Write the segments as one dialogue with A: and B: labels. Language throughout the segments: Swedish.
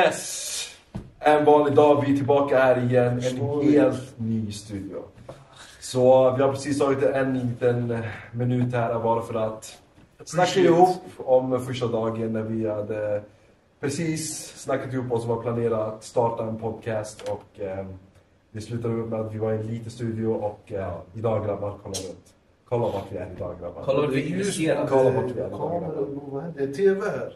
A: Yes! En vanlig dag, vi är tillbaka här igen. En helt ny studio. Så vi har precis tagit en liten eh, minut här bara för att snacka ihop om första dagen när vi hade precis snackat ihop oss och var planerat att starta en podcast och eh, det slutade med att vi var i en liten studio och eh, idag grabbar, kolla runt. Kolla vart vi är idag grabbar.
B: Kolla vart vi investerar.
A: Kolla vart vi är idag grabbar.
C: Kameror, det är tv här.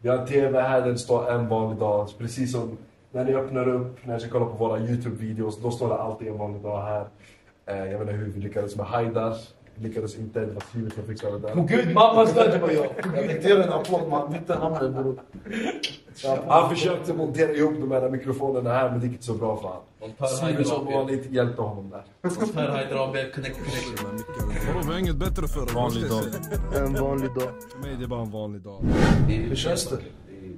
A: Vi har en TV här där det står en vanlig dag. Precis som när ni öppnar upp, när ni ska kolla på våra YouTube-videos, då står det alltid en vanlig dag här. Eh, jag vet inte hur vi lyckades med Haidar. Lyckades inte, det var Simon som fixade det där.
B: Gud, mamma stödde mig jag.
C: Jag tänkte göra en applåd, man bytte namn bror.
A: Han försökte montera ihop de här mikrofonerna här, men det gick inte så bra för han.
B: Om Per
A: Simon som
B: Heidrabi.
A: vanligt hjälpte honom där.
B: Om Per Heidrabi, connect connection.
D: Vadå, vi har inget bättre för oss.
E: Vanlig dag.
C: En vanlig dag.
E: För mig det är bara en vanlig dag.
C: Hur känns det?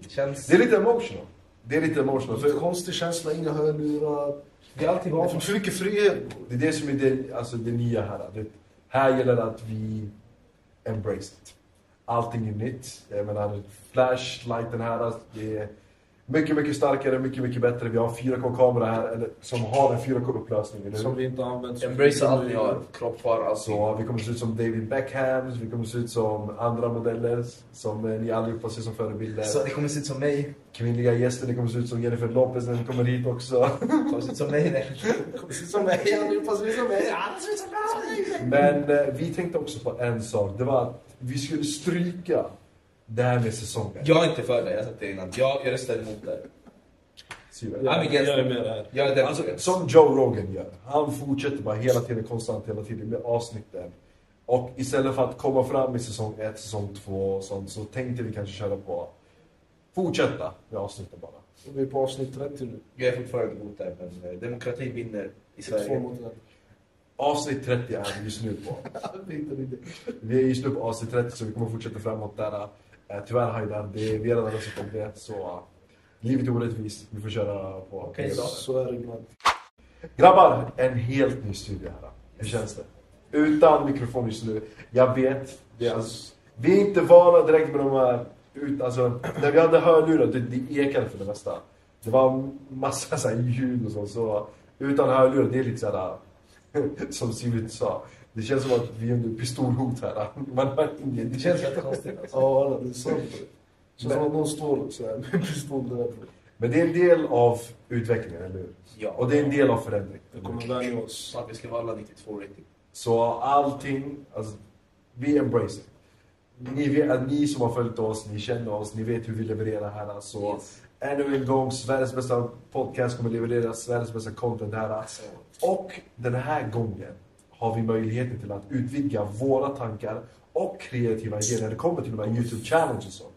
B: Det känns...
A: Det är lite emotional. Det är lite emotional.
C: Det är en
A: För
C: konstig känsla, inga hörlurar.
B: Det är alltid
C: Det är för mycket frihet.
A: det är det som är det, alltså det nya här. Det, här gäller det att vi embrace it. Allting är nytt. Jag menar, flashlighten här, alltså, det är mycket, mycket starkare, mycket, mycket bättre. Vi har en 4K-kamera här, eller, som har en 4K-upplösning, eller
C: Som
A: hur?
C: vi inte använder.
B: Embrace allt ni har. alltså- Kropp, far,
A: Så
B: allting.
A: vi kommer se ut som David Beckhams, vi kommer se ut som andra modeller som eh, ni allihopa ser som förebilder.
B: Så det kommer se ut som mig.
A: Kvinnliga gäster, ni kommer se ut som Jennifer Lopez när ni kommer hit också.
B: Det kommer se ut som mig. nej.
C: Precis som mig, allihopa ser ut som mig. Alla ser ut som mig.
A: Men eh, vi tänkte också på en sak. Det var att vi skulle stryka det här med säsongen.
B: Jag är inte för det, jag har sagt det innan. Jag, jag röstar emot det.
A: Syvare.
B: I'm against
C: Jag är
B: it.
C: med där.
B: Jag är den
A: Alltså,
B: som är.
A: som Joe Rogan gör. Han fortsätter bara hela tiden, konstant hela tiden med avsnitten. Och istället för att komma fram i säsong 1, säsong 2 och sånt så tänkte vi kanske köra på fortsätta med avsnitten bara.
C: Vi är på avsnitt 30 nu.
B: Jag är fortfarande emot det, men eh, demokratin vinner i
C: Två
B: Sverige.
C: mot en.
A: Avsnitt 30 är vi just nu på.
C: Det är inte riktigt.
A: Vi är just nu på avsnitt 30 så vi kommer fortsätta framåt där. Eh, Tyvärr Haidar, det- vi har redan röstat om det så eh, livet är orättvist. Vi får köra på.
B: Okej, så.
C: Så är det ibland.
A: Grabbar, en helt ny studio här. Hur känns det? Utan mikrofon just nu. Jag vet. Det är alltså, vi är inte vana direkt med de här... Ut, alltså, när vi hade hörlurar, det, det ekade för det mesta. Det var massa så här ljud och sånt. Så utan hörlurar, det är lite så här... Som Simon sa. Det känns som att vi är under pistolhot här. Man hör inget.
B: Det känns rätt konstigt alltså.
C: Ja, alla, det är sant. Det känns som att någon står så här med en pistol där.
A: Men det är en del av utvecklingen, eller hur?
B: Ja.
A: Och det är en del av förändringen.
C: Det kommer vänja oss.
B: Så att vi ska vara alla 92 rating.
A: Så allting, alltså, vi embrace it. Ni, vet, ni som har följt oss, ni känner oss, ni vet hur vi levererar här. alltså. Så
B: Yes.
A: ännu en gång, Sveriges bästa podcast kommer leverera Sveriges bästa content här. Och den här gången har vi möjligheten till att utvidga våra tankar och kreativa idéer när det kommer till de här YouTube-challenges. och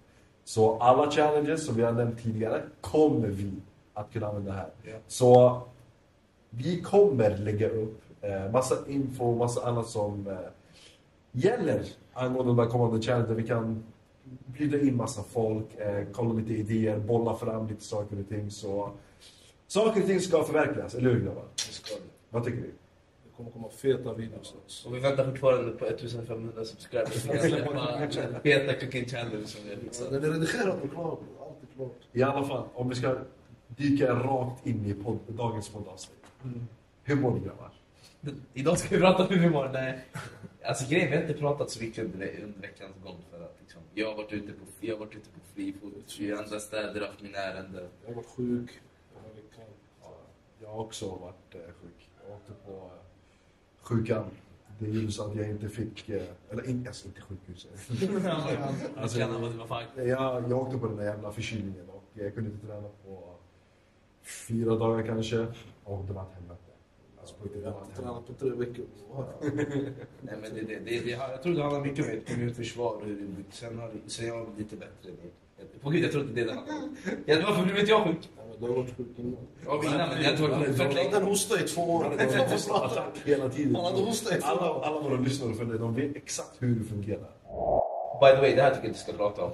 A: Så alla challenges som vi har nämnt tidigare kommer vi att kunna använda här.
B: Ja.
A: Så vi kommer lägga upp eh, massa info, massa annat som eh, gäller angående de här kommande challengen. Vi kan bjuda in massa folk, eh, kolla lite idéer, bolla fram lite saker och ting. Så saker och ting ska förverkligas, eller hur grabbar?
B: Det ska vi.
A: Vad tycker ni?
C: Det kommer komma feta videos. Alltså.
B: Och vi väntar fortfarande på 1500 subscribers. Vi kan släppa Beta Cooking Challenge som liksom- vi har fixat.
C: Den är redigerad och klar. bror. Allt är klart.
A: I alla fall, om vi ska dyka rakt in i podd, dagens poddavsnitt. Hur mår ni grabbar?
B: Idag ska vi prata om hur vi mår. Nej. Alltså grejen, vi har inte pratat så mycket under, under veckans gång. För att, liksom, jag, har varit ute på, jag har varit ute på fri fot i andra städer haft mina ärenden.
C: Jag var sjuk. Jag var lite kall.
A: Jag har också varit eh, sjuk. Jag åkte på eh, sjukan. Det gjorde så att jag inte fick, eh, eller in, alltså inte sjukhuset.
B: Alltså, jag känner att det var fan.
A: Jag, jag åkte på den där jävla förkylningen och eh, jag kunde inte träna på fyra dagar kanske. Och det var ett helvete. Alltså på riktigt, det
C: Jag
A: var
C: har
A: ett
C: inte
A: helvete.
C: tränat på tre veckor.
B: Nej, men det, det, det, det, jag tror det handlar mycket om ert immunförsvar försvar och hur det blir. Sen, har, sen är jag lite bättre. nu. På gud, jag tror inte det är det handlar om. Ja, Varför blev inte jag sjuk?
C: Ja, men Du har varit sjuk innan.
B: Jag var innan, men jag tror jag
C: Jag
B: fett
C: hade
B: länge.
C: en hosta i två år.
A: Hela tiden.
C: Han hade hosta i två
A: Alla,
C: år.
A: alla våra lyssnare för dig, de vet exakt hur det fungerar.
B: By the way, det här tycker jag inte vi ska prata om.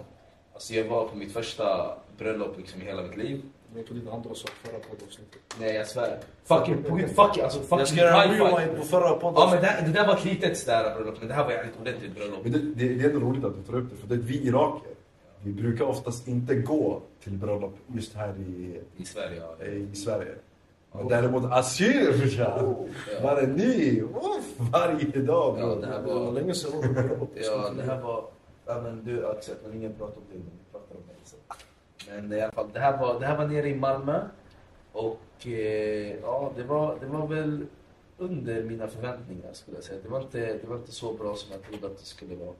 B: Alltså jag var på mitt första bröllop liksom i hela mitt liv.
C: Det var på lite andra sak förra poddavsnittet.
B: Nej jag svär. Fuck it, på gud, fuck it, alltså fuck
C: Jag ska
B: it,
C: göra en
B: high five.
C: rewind på förra
B: Ja men
C: poddavsnittet.
B: det, här- det där var ett litet sådär bröllop, men det här var ett ordentligt bröllop.
A: Men det, det, det är ändå roligt att du tar upp det, för det är vi iraker. Vi brukar oftast inte gå till bröllop just här i, eh,
B: I Sverige, ja.
A: i Sverige. Men
B: Ja.
A: däremot assyrier,
B: Ja,
A: var är ni? Uff, varje dag.
B: Ja, det här
C: Det var
B: var...
C: länge sedan jag var på
B: Ja, det här var... Ja, men du Axel, men ingen pratar om det. men Vi pratar om det. Så. Men i alla fall, det här var, det här var nere i Malmö. Och eh, ja, det var, det var väl under mina förväntningar skulle jag säga. Det var inte, det var inte så bra som jag trodde att det skulle vara.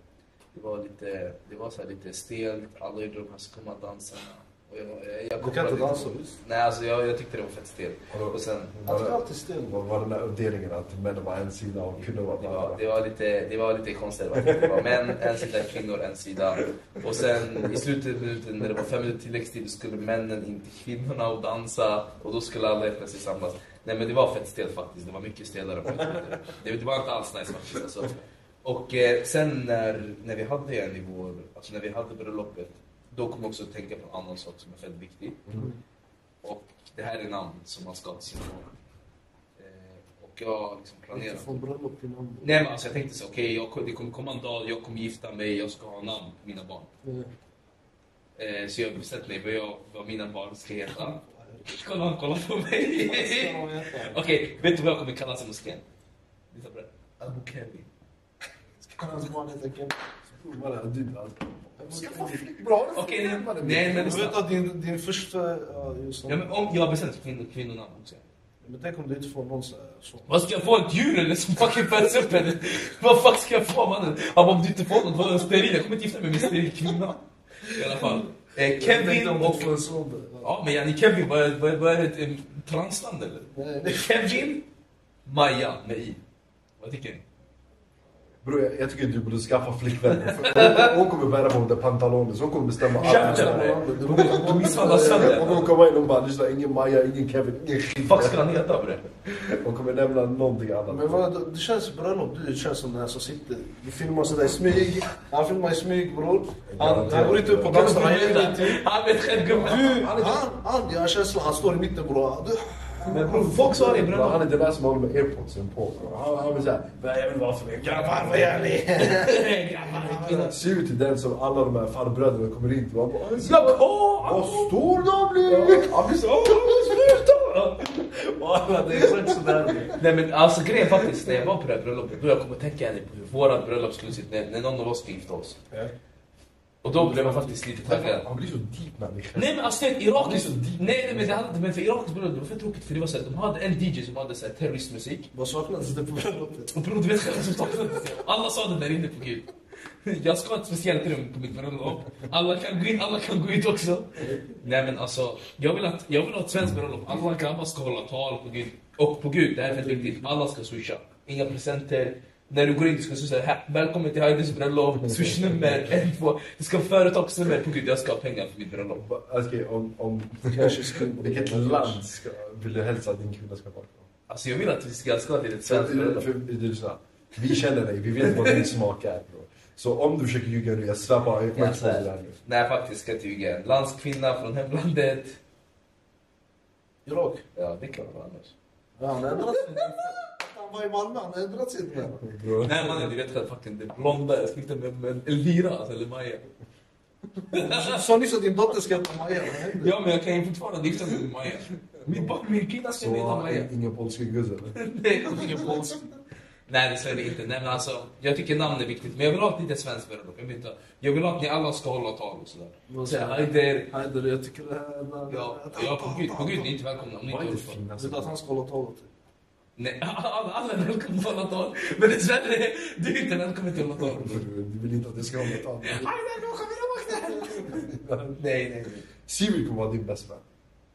B: Det var lite, det var så här lite stelt, alla gjorde de här skumma danserna. Och jag, jag, jag
C: Du kan inte
B: kopplade-
C: dansa visst?
B: Nej, alltså jag, jag tyckte det var fett stelt. Och sen,
C: Att
A: Var
C: det
A: det,
C: alltid still.
A: var, var den där uppdelningen att männen var en sida och kvinnor var
B: Det
A: den
B: var,
A: andra?
B: det var lite, det var lite konservativt. Det var män, en sida kvinnor, en sida. Och sen i slutet av minuten, när det var fem minuter tilläggstid, då skulle männen in till kvinnorna och dansa. Och då skulle alla helt plötsligt samlas. Nej men det var fett stelt faktiskt. Det var mycket stelare. än vad jag trodde. Det, det var inte alls nice faktiskt. Alltså. Och eh, sen när, när vi hade en i vår, alltså när vi hade bröllopet, då kom jag också att tänka på en annan sak som är väldigt viktig.
A: Mm.
B: Och det här är namn som man ska ha till sina barn. Eh, Och jag har liksom planerat.
C: Från bröllop till namn.
B: Nej men alltså jag tänkte så, okej jag- det kommer komma en dag, jag kommer gifta mig, jag ska ha namn på mina barn.
C: Eh,
B: Eh, så jag har bestämt mig vad, jag, vad mina barn ska heta. Kolla, han kollar på mig.
C: ska man
B: okej,
C: heta?
B: vet du vad jag kommer kallas i moskén? Lyssna på det. Abu Kevin.
C: Kan hans barn heta Kevin?
A: Var det du alltså?
C: Ska jag få flickbra?
B: Okej, nej
C: Men
B: men
C: du vet
B: lyssna.
C: att din, din första... Ja, just det.
B: Ja, men om jag har bestämt kvinnor, kvinnonamn också.
C: Men tänk om du inte får någon så här... Så.
B: Vad ska jag få? Ett djur eller som fucking föds upp eller? Vad fuck ska jag få mannen? Ja, men om du inte får något, vad är en steril? Jag kommer inte gifta mig med en steril kvinna. I alla fall. Eh, Kevin
C: Tänk
B: Oh.
C: om
B: och
C: du får en son. då.
B: Ja, men Janne Kevin, vad är, vad är, vad är det? Ett transland eller?
C: Nej, nej.
B: Kevin Maja med i. Vad tycker ni?
A: Bror, jag, jag tycker du borde skaffa flickvän. Hon, hon kommer bära på den där pantalonen, så hon kommer bestämma allt.
B: Jävlar.
C: Du
B: Du misshandlar sönder
A: Hon kommer
B: henne.
A: komma in och bara lyssna, ingen Maja, ingen Kevin, ingen skit.
B: Vad ska han heta bre?
A: Hon kommer nämna någonting annat.
C: Men vad, det känns bröllop, du det känns som den här som sitter. Du filmar sådär i smyg. Han filmar i smyg bror. Han, han går inte upp på dansen, han gör ingenting.
B: Han vet själv gubben.
C: Du, han, han, jag har känslan, han står i mitten bror. Du,
B: Men bror, folk sa det i
A: Men Han
B: bröllopet.
A: är den där som håller med airpodsen på. bro. Han, han blir såhär, jag vill vara som en grabbar.
C: vad gör ni?
A: Han ser ut till den som alla de här farbröderna kommer in till. Han bara, "Åh,
B: Slapp av!
A: vad stor de blir! Han blir så, "Åh, sluta!
C: Och alla, det är exakt sådär.
B: Nej men alltså grejen faktiskt, när jag var på det här bröllopet, då jag kom att tänka Annie, på hur vårat bröllop skulle se ut när, när någon av oss ska gifta oss. Och då blev man faktiskt lite taggad.
A: Han blir så deep människa.
B: Nej men alltså det irakiskt... Nej, nej men det hade inte... Men för irakiskt bröllop, det var för tråkigt för det var så här, de hade en DJ som hade så här, terroristmusik.
C: Vad saknades det på bröllopet?
B: Och bror du vet själv som saknades. Alla sa det där inne på gud. Jag ska ha ett speciellt rum på mitt bröllop. Alla kan gå in, alla kan gå ut också. Nej men alltså, jag vill, att, jag vill ha ett svenskt bröllop. Alla grabbar ska hålla tal på gud. Och på gud, det här är väldigt viktigt. Alla ska swisha. Inga presenter. När du går in du ska swisha. "Hä, Välkommen till Heidis bröllop. Swishnummer, en, två. Det ska vara företagsnummer. På gud, jag ska ha pengar för mitt bröllop.
A: Okej, om, om
C: Kanske skulle-
A: vilket land ska, vill du helst att din kvinna ska vara från?
B: Alltså jag vill att vi ska ska till ett svenskt
A: För-
B: bröllop.
A: eh, för- du lyssnar. Vi känner dig, vi vet vad din smak är. Bro. Så om du försöker ljuga nu, jag svär bara, jag
B: Jag
A: kommer inte
B: svär.
A: på det här nu.
B: Nej faktiskt ska jag inte ljuga. Landskvinna från hemlandet.
C: Irak?
B: Ja det kan vara annars.
C: Ja, han har ändrat sig. Han var i Malmö, han har ändrat sig.
A: Bro.
B: Nej mannen du vet själv fucking det blonda jag snittade med, med Elvira alltså, eller Maja.
C: Sa nyss att din dotter ska heta Maja, vad hände?
B: Ja men jag kan ju fortfarande gifta mig med Maja. Min, barn- min kvinna ska heta
A: Så eh,
B: Maja.
A: ingen polska gusse.
B: Nej hon är ingen polsk. Nej det säger det inte. Nej men alltså jag tycker namn är viktigt. Men jag vill ha ett litet svenskt bröllop. Jag, vill inte- jag vill ha att ni alla ska hålla tal och sådär. Så här, Heider.
C: Heider, jag tycker det här...
B: Ja, ja på gud, på gud ni är inte välkomna om ni
A: Vad
B: inte
A: är det
C: Vet
B: håller tal.
C: du att
A: finaste?
C: han ska hålla tal åt dig?
B: Nej, alla, alla är välkomna till Hållatorp. Men dessvärre, du är inte välkommen till Hållatorp.
A: Du vill inte att jag ska hålla tal.
B: Nej, nej,
A: Sivert kommer vara din bästa vän.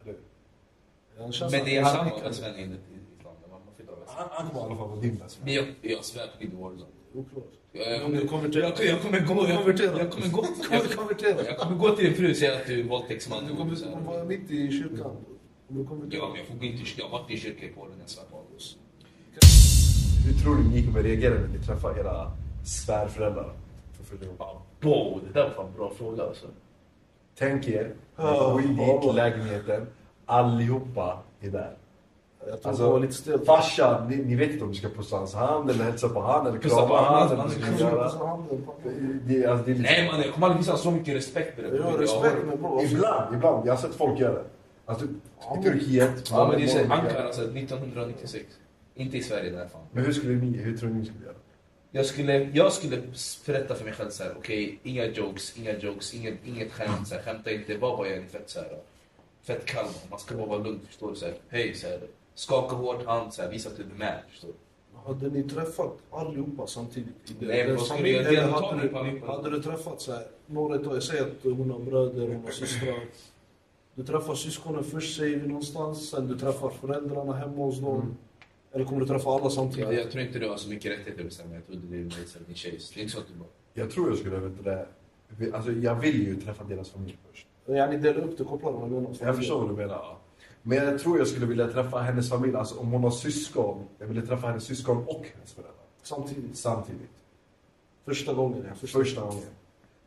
A: Eller hur?
C: Men
B: Men det är alltså- haram att vara svensk enligt islam. Man får inte vara svensk.
A: Han han kommer i alla fall vara din bästa
B: Men
A: vän.
B: jag, jag svär på gud, Warzone.
C: Oklart.
B: Jag, jag,
C: Om du
B: kommer,
C: konverterar.
B: jag, jag kommer gå... Jag,
C: Konvertera.
B: jag, kommer gå
C: Du kommer
B: jag,
C: konvertera.
B: jag kommer gå till din fru och säga att du är våldtäktsman.
C: Du kommer, du kommer vara mitt i kyrkan. Om du
B: Ja, men
C: konverterar.
B: jag får gå in till kyrkan. Jag har varit i kyrkan i Polen, jag svär på August.
A: Hur tror du ni kommer reagera när ni träffar era svärföräldrar? För första gången?
B: Bo, det där var fan en bra fråga alltså.
A: Tänk er, ah,
C: Ja.
A: gå in i lägenheten, allihopa är där.
C: Jag tror det
A: Alltså,
C: var lite stelt.
A: farsan, ni, ni vet inte om ni ska pussa hans hand eller hälsa på han eller
B: Pussa på
A: krama
B: han,
A: han. eller
B: man
A: vad ni
B: kan
A: ska
C: Jag tror
A: göra.
C: inte så handen, pappa.
A: Det, alltså, det är liksom,
B: Nej man, jag kommer aldrig visa så mycket respekt för det.
C: Jag har respekt men bror. alltså,
A: ibland, ibland. Jag har sett folk göra det. Alltså, i Turkiet.
B: Ja men det är så- Ankara alltså, 1996. Inte i Sverige där fan.
A: Men hur skulle ni, hur tror ni ni skulle göra?
B: Jag skulle, jag skulle berätta för mig själv såhär, okej, inga jokes, inga jokes, inget, inget skämt, så här, skämta inte, bara vara en fett såhär, fett kalm, man ska bara vara lugn, förstår du? Så här, hej, så här, skaka hårt hand, så här, visa att du är med, förstår du?
C: Hade ni träffat allihopa samtidigt? i det?
B: Nej, men vad skulle jag
C: Eller
B: göra?
C: hade,
B: Ta mig
C: du,
B: på allihopa.
C: hade du träffat så här, några utav, jag säger att hon har bröder, hon har systrar. Du träffar syskonen först säger vi någonstans, sen du träffar föräldrarna hemma hos dem.
A: Mm.
C: Eller kommer du träffa alla
B: Jag,
C: samtidigt?
B: jag tror inte du har så mycket rättigheter att bestämma, jag tror det är mig, så här, din tjej. Det är inte så att du bara,
A: Jag tror jag skulle, vet du det. vi- Alltså, jag vill ju träffa deras familj först.
C: Ja, ni delar upp det, kopplar vad jag menar.
A: Jag förstår vad du menar. ja. Men jag tror jag skulle vilja träffa hennes familj. Alltså om hon har syskon. Jag ville träffa hennes syskon och hennes föräldrar.
C: Samtidigt.
A: Samtidigt.
C: Första gången, ja. Första.
A: Första gången.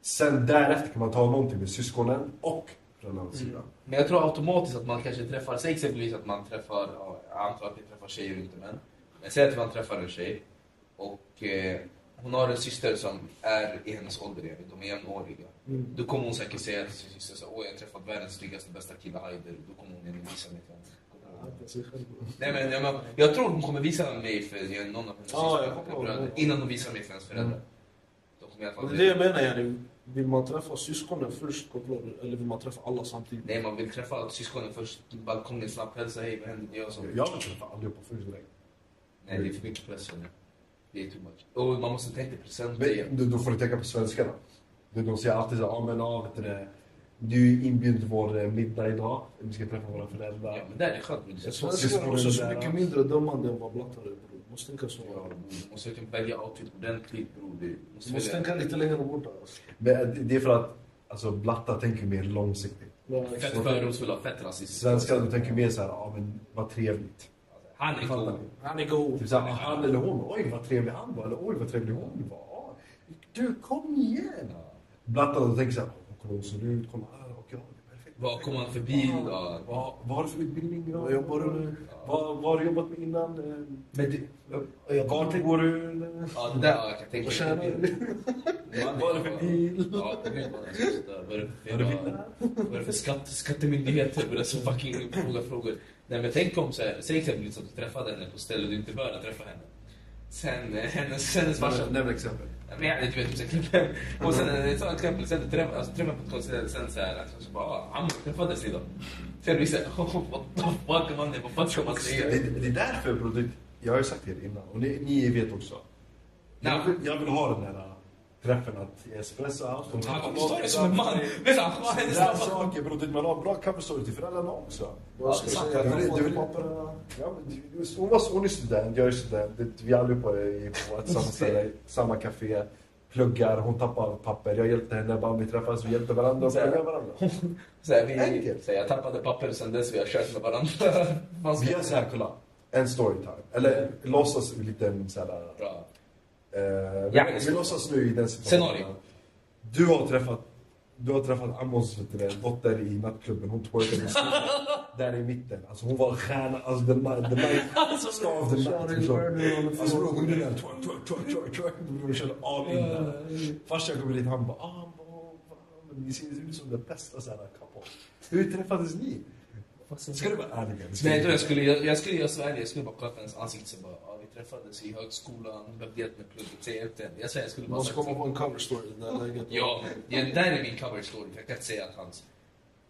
A: Sen därefter kan man ta någonting med syskonen och föräldrarnas sida.
B: Mm. Men jag tror automatiskt att man kanske träffar, säg exempelvis att man träffar, ja, jag antar att vi träffar tjejer och inte män. Men säg att man träffar en tjej och eh, hon har en syster som är i hennes ålder, igen, de är jämnåriga.
C: Mm.
B: Då kommer hon säkert säga till sin syster så, åh jag har träffat världens snyggaste bästa kille, Haider. Då kommer hon ändå visa mig för
C: Ja,
B: honom.
C: det är sig själv.
B: Nej men jag, men, jag tror hon kommer visa mig för någon av hennes
C: Ja, jag
B: systrar,
C: kopplar
B: bröder,
C: honom.
B: innan hon visar mig för hennes föräldrar. Då kommer jag i alla
C: Det är
B: fall
C: det jag menar, yani. Vill man träffa syskonen först, kopplar du? Eller vill man träffa alla samtidigt?
B: Nej man vill träffa syskonen först, balkongen, snabbt hälsa, hej vad händer? Jag som...
A: Alltså, Jag vill träffa allihopa först direkt.
B: Nej, det är för mycket press för nu. Det är too much. Och man måste tänka presenter igen.
A: Men du, då får du tänka på svenskarna. Du, de säger alltid så här, ah, men ah, vet du det. Du är inbjuden till vår eh, middag idag. Vi ska träffa våra föräldrar.
B: Ja, men där är det skönt. Men du
C: Jag
B: måste,
A: tror-
C: svenskar är också så
A: Syskonen där,
C: mycket
A: ja.
C: mindre dömande än vad blattar är bror. Måste tänka så.
B: Ja, du måste verkligen välja outfit ordentligt bror. Du måste,
C: Måste
B: välja.
C: tänka lite längre bort alltså.
A: Men eh, det är för att alltså, blattar tänker mer långsiktigt.
C: Ja,
B: Fett fördomsfulla, fett rasistiska.
A: Svenskar de tänker mer så här, ah, men vad trevligt.
B: Han är
A: Fattar
B: cool.
A: ni?
C: Han är god.
A: Typ såhär, han eller hon, oj vad trevlig han var, eller oj vad trevlig hon var. Ah, Du, kom igen! Blattarna de tänker såhär, "Åh, kolla hur hon ser ut, kolla här, och ja, det är perfekt.
B: Vad kommer han för bil? Ja.
A: Vad, vad har du för utbildning? då?
C: Vad jobbar du med?
A: Vad, vad har du jobbat med innan?
B: Men det,
A: Vart går du?
B: ja, det där jag kan tänka
C: Vad tjänar du?
B: Vad är det för bil? Ja, det vet man. Vad är det för- vad är det för skatt, skattemyndigheter? Börjar så fucking fråga frågor. Nej men tänk om så här, säg exempelvis att du liksom träffade henne på stället du inte bör träffa henne. Sen eh, hennes, hennes farsa
A: Nämn exempel.
B: Men jag vet inte exempel. Och sen eh, ett sånt exempel, sen träffade alltså, träffa på ett koncept, sen så här, alltså, så bara, ah, han träffades idag. Sen vi såhär, oh, what the fuck man, vad fan ska man
A: Det,
B: säga?
A: det är därför, bro, det, jag har ju sagt det innan, och ni, ni vet också.
B: Nej.
A: Jag, vill, jag vill ha den där träffen att espresso out. och-
B: Han kommer stå där som en man. Det är så här, han är
A: Bra
B: nästan-
A: saker, broder. alltså Man har bra coverstory till föräldrarna också.
C: Vad ska jag säga?
A: Du vill-
C: Jag
A: du vill-
C: har fått papperna.
A: Ja, men det- just- hon, var, hon är student, jag är student. Det- Vi allihopa är på ett samma ställe, samma café. Pluggar, hon tappar papper. Jag hjälpte henne, bara vi träffas, vi hjälper varandra och
B: Så här.
A: pluggar varandra.
B: Så här, vi,
A: Enkelt.
B: så här, jag tappade papper sen dess vi har kört med varandra. Man ska-
A: Vi gör så här, kolla. En storytime. Eller låtsas lite så här...
B: Bra.
A: Eh,
B: Ja,
A: vi, vi låtsas nu i den situationen.
B: Scenario.
A: Du har träffat du har träffat Ammons vet du det, dotter i nattklubben. Hon twerkade i skolan. Där i mitten. Alltså hon var en stjärna. Alltså the night. The night
B: Alltså,
A: ska av the night.
C: Charlie
A: förstår du?
C: Vernon och
A: Alltså bror hon gjorde den. Twerk, twerk, twerk, twerk, twerk. Bror, Hon körde all in där. Farsan kommer dit. Han bara. Ah, bro, fan, men ni ser ut som det bästa såhär couple. Hur träffades ni? Ska du vara ärlig? Ska
B: Nej,
A: du-
B: då jag skulle, jag, jag skulle göra så här, jag skulle bara kolla på hennes ansikte så bara, ja, vi träffades i högskolan, jag behövde hjälp med plugget, säg hjälp till henne. Jag säger, jag skulle bara
C: Måste
B: sagt
C: komma
B: så.
C: på en cover story i det här läget.
B: Ja, men det där är min cover story, jag kan inte säga att hans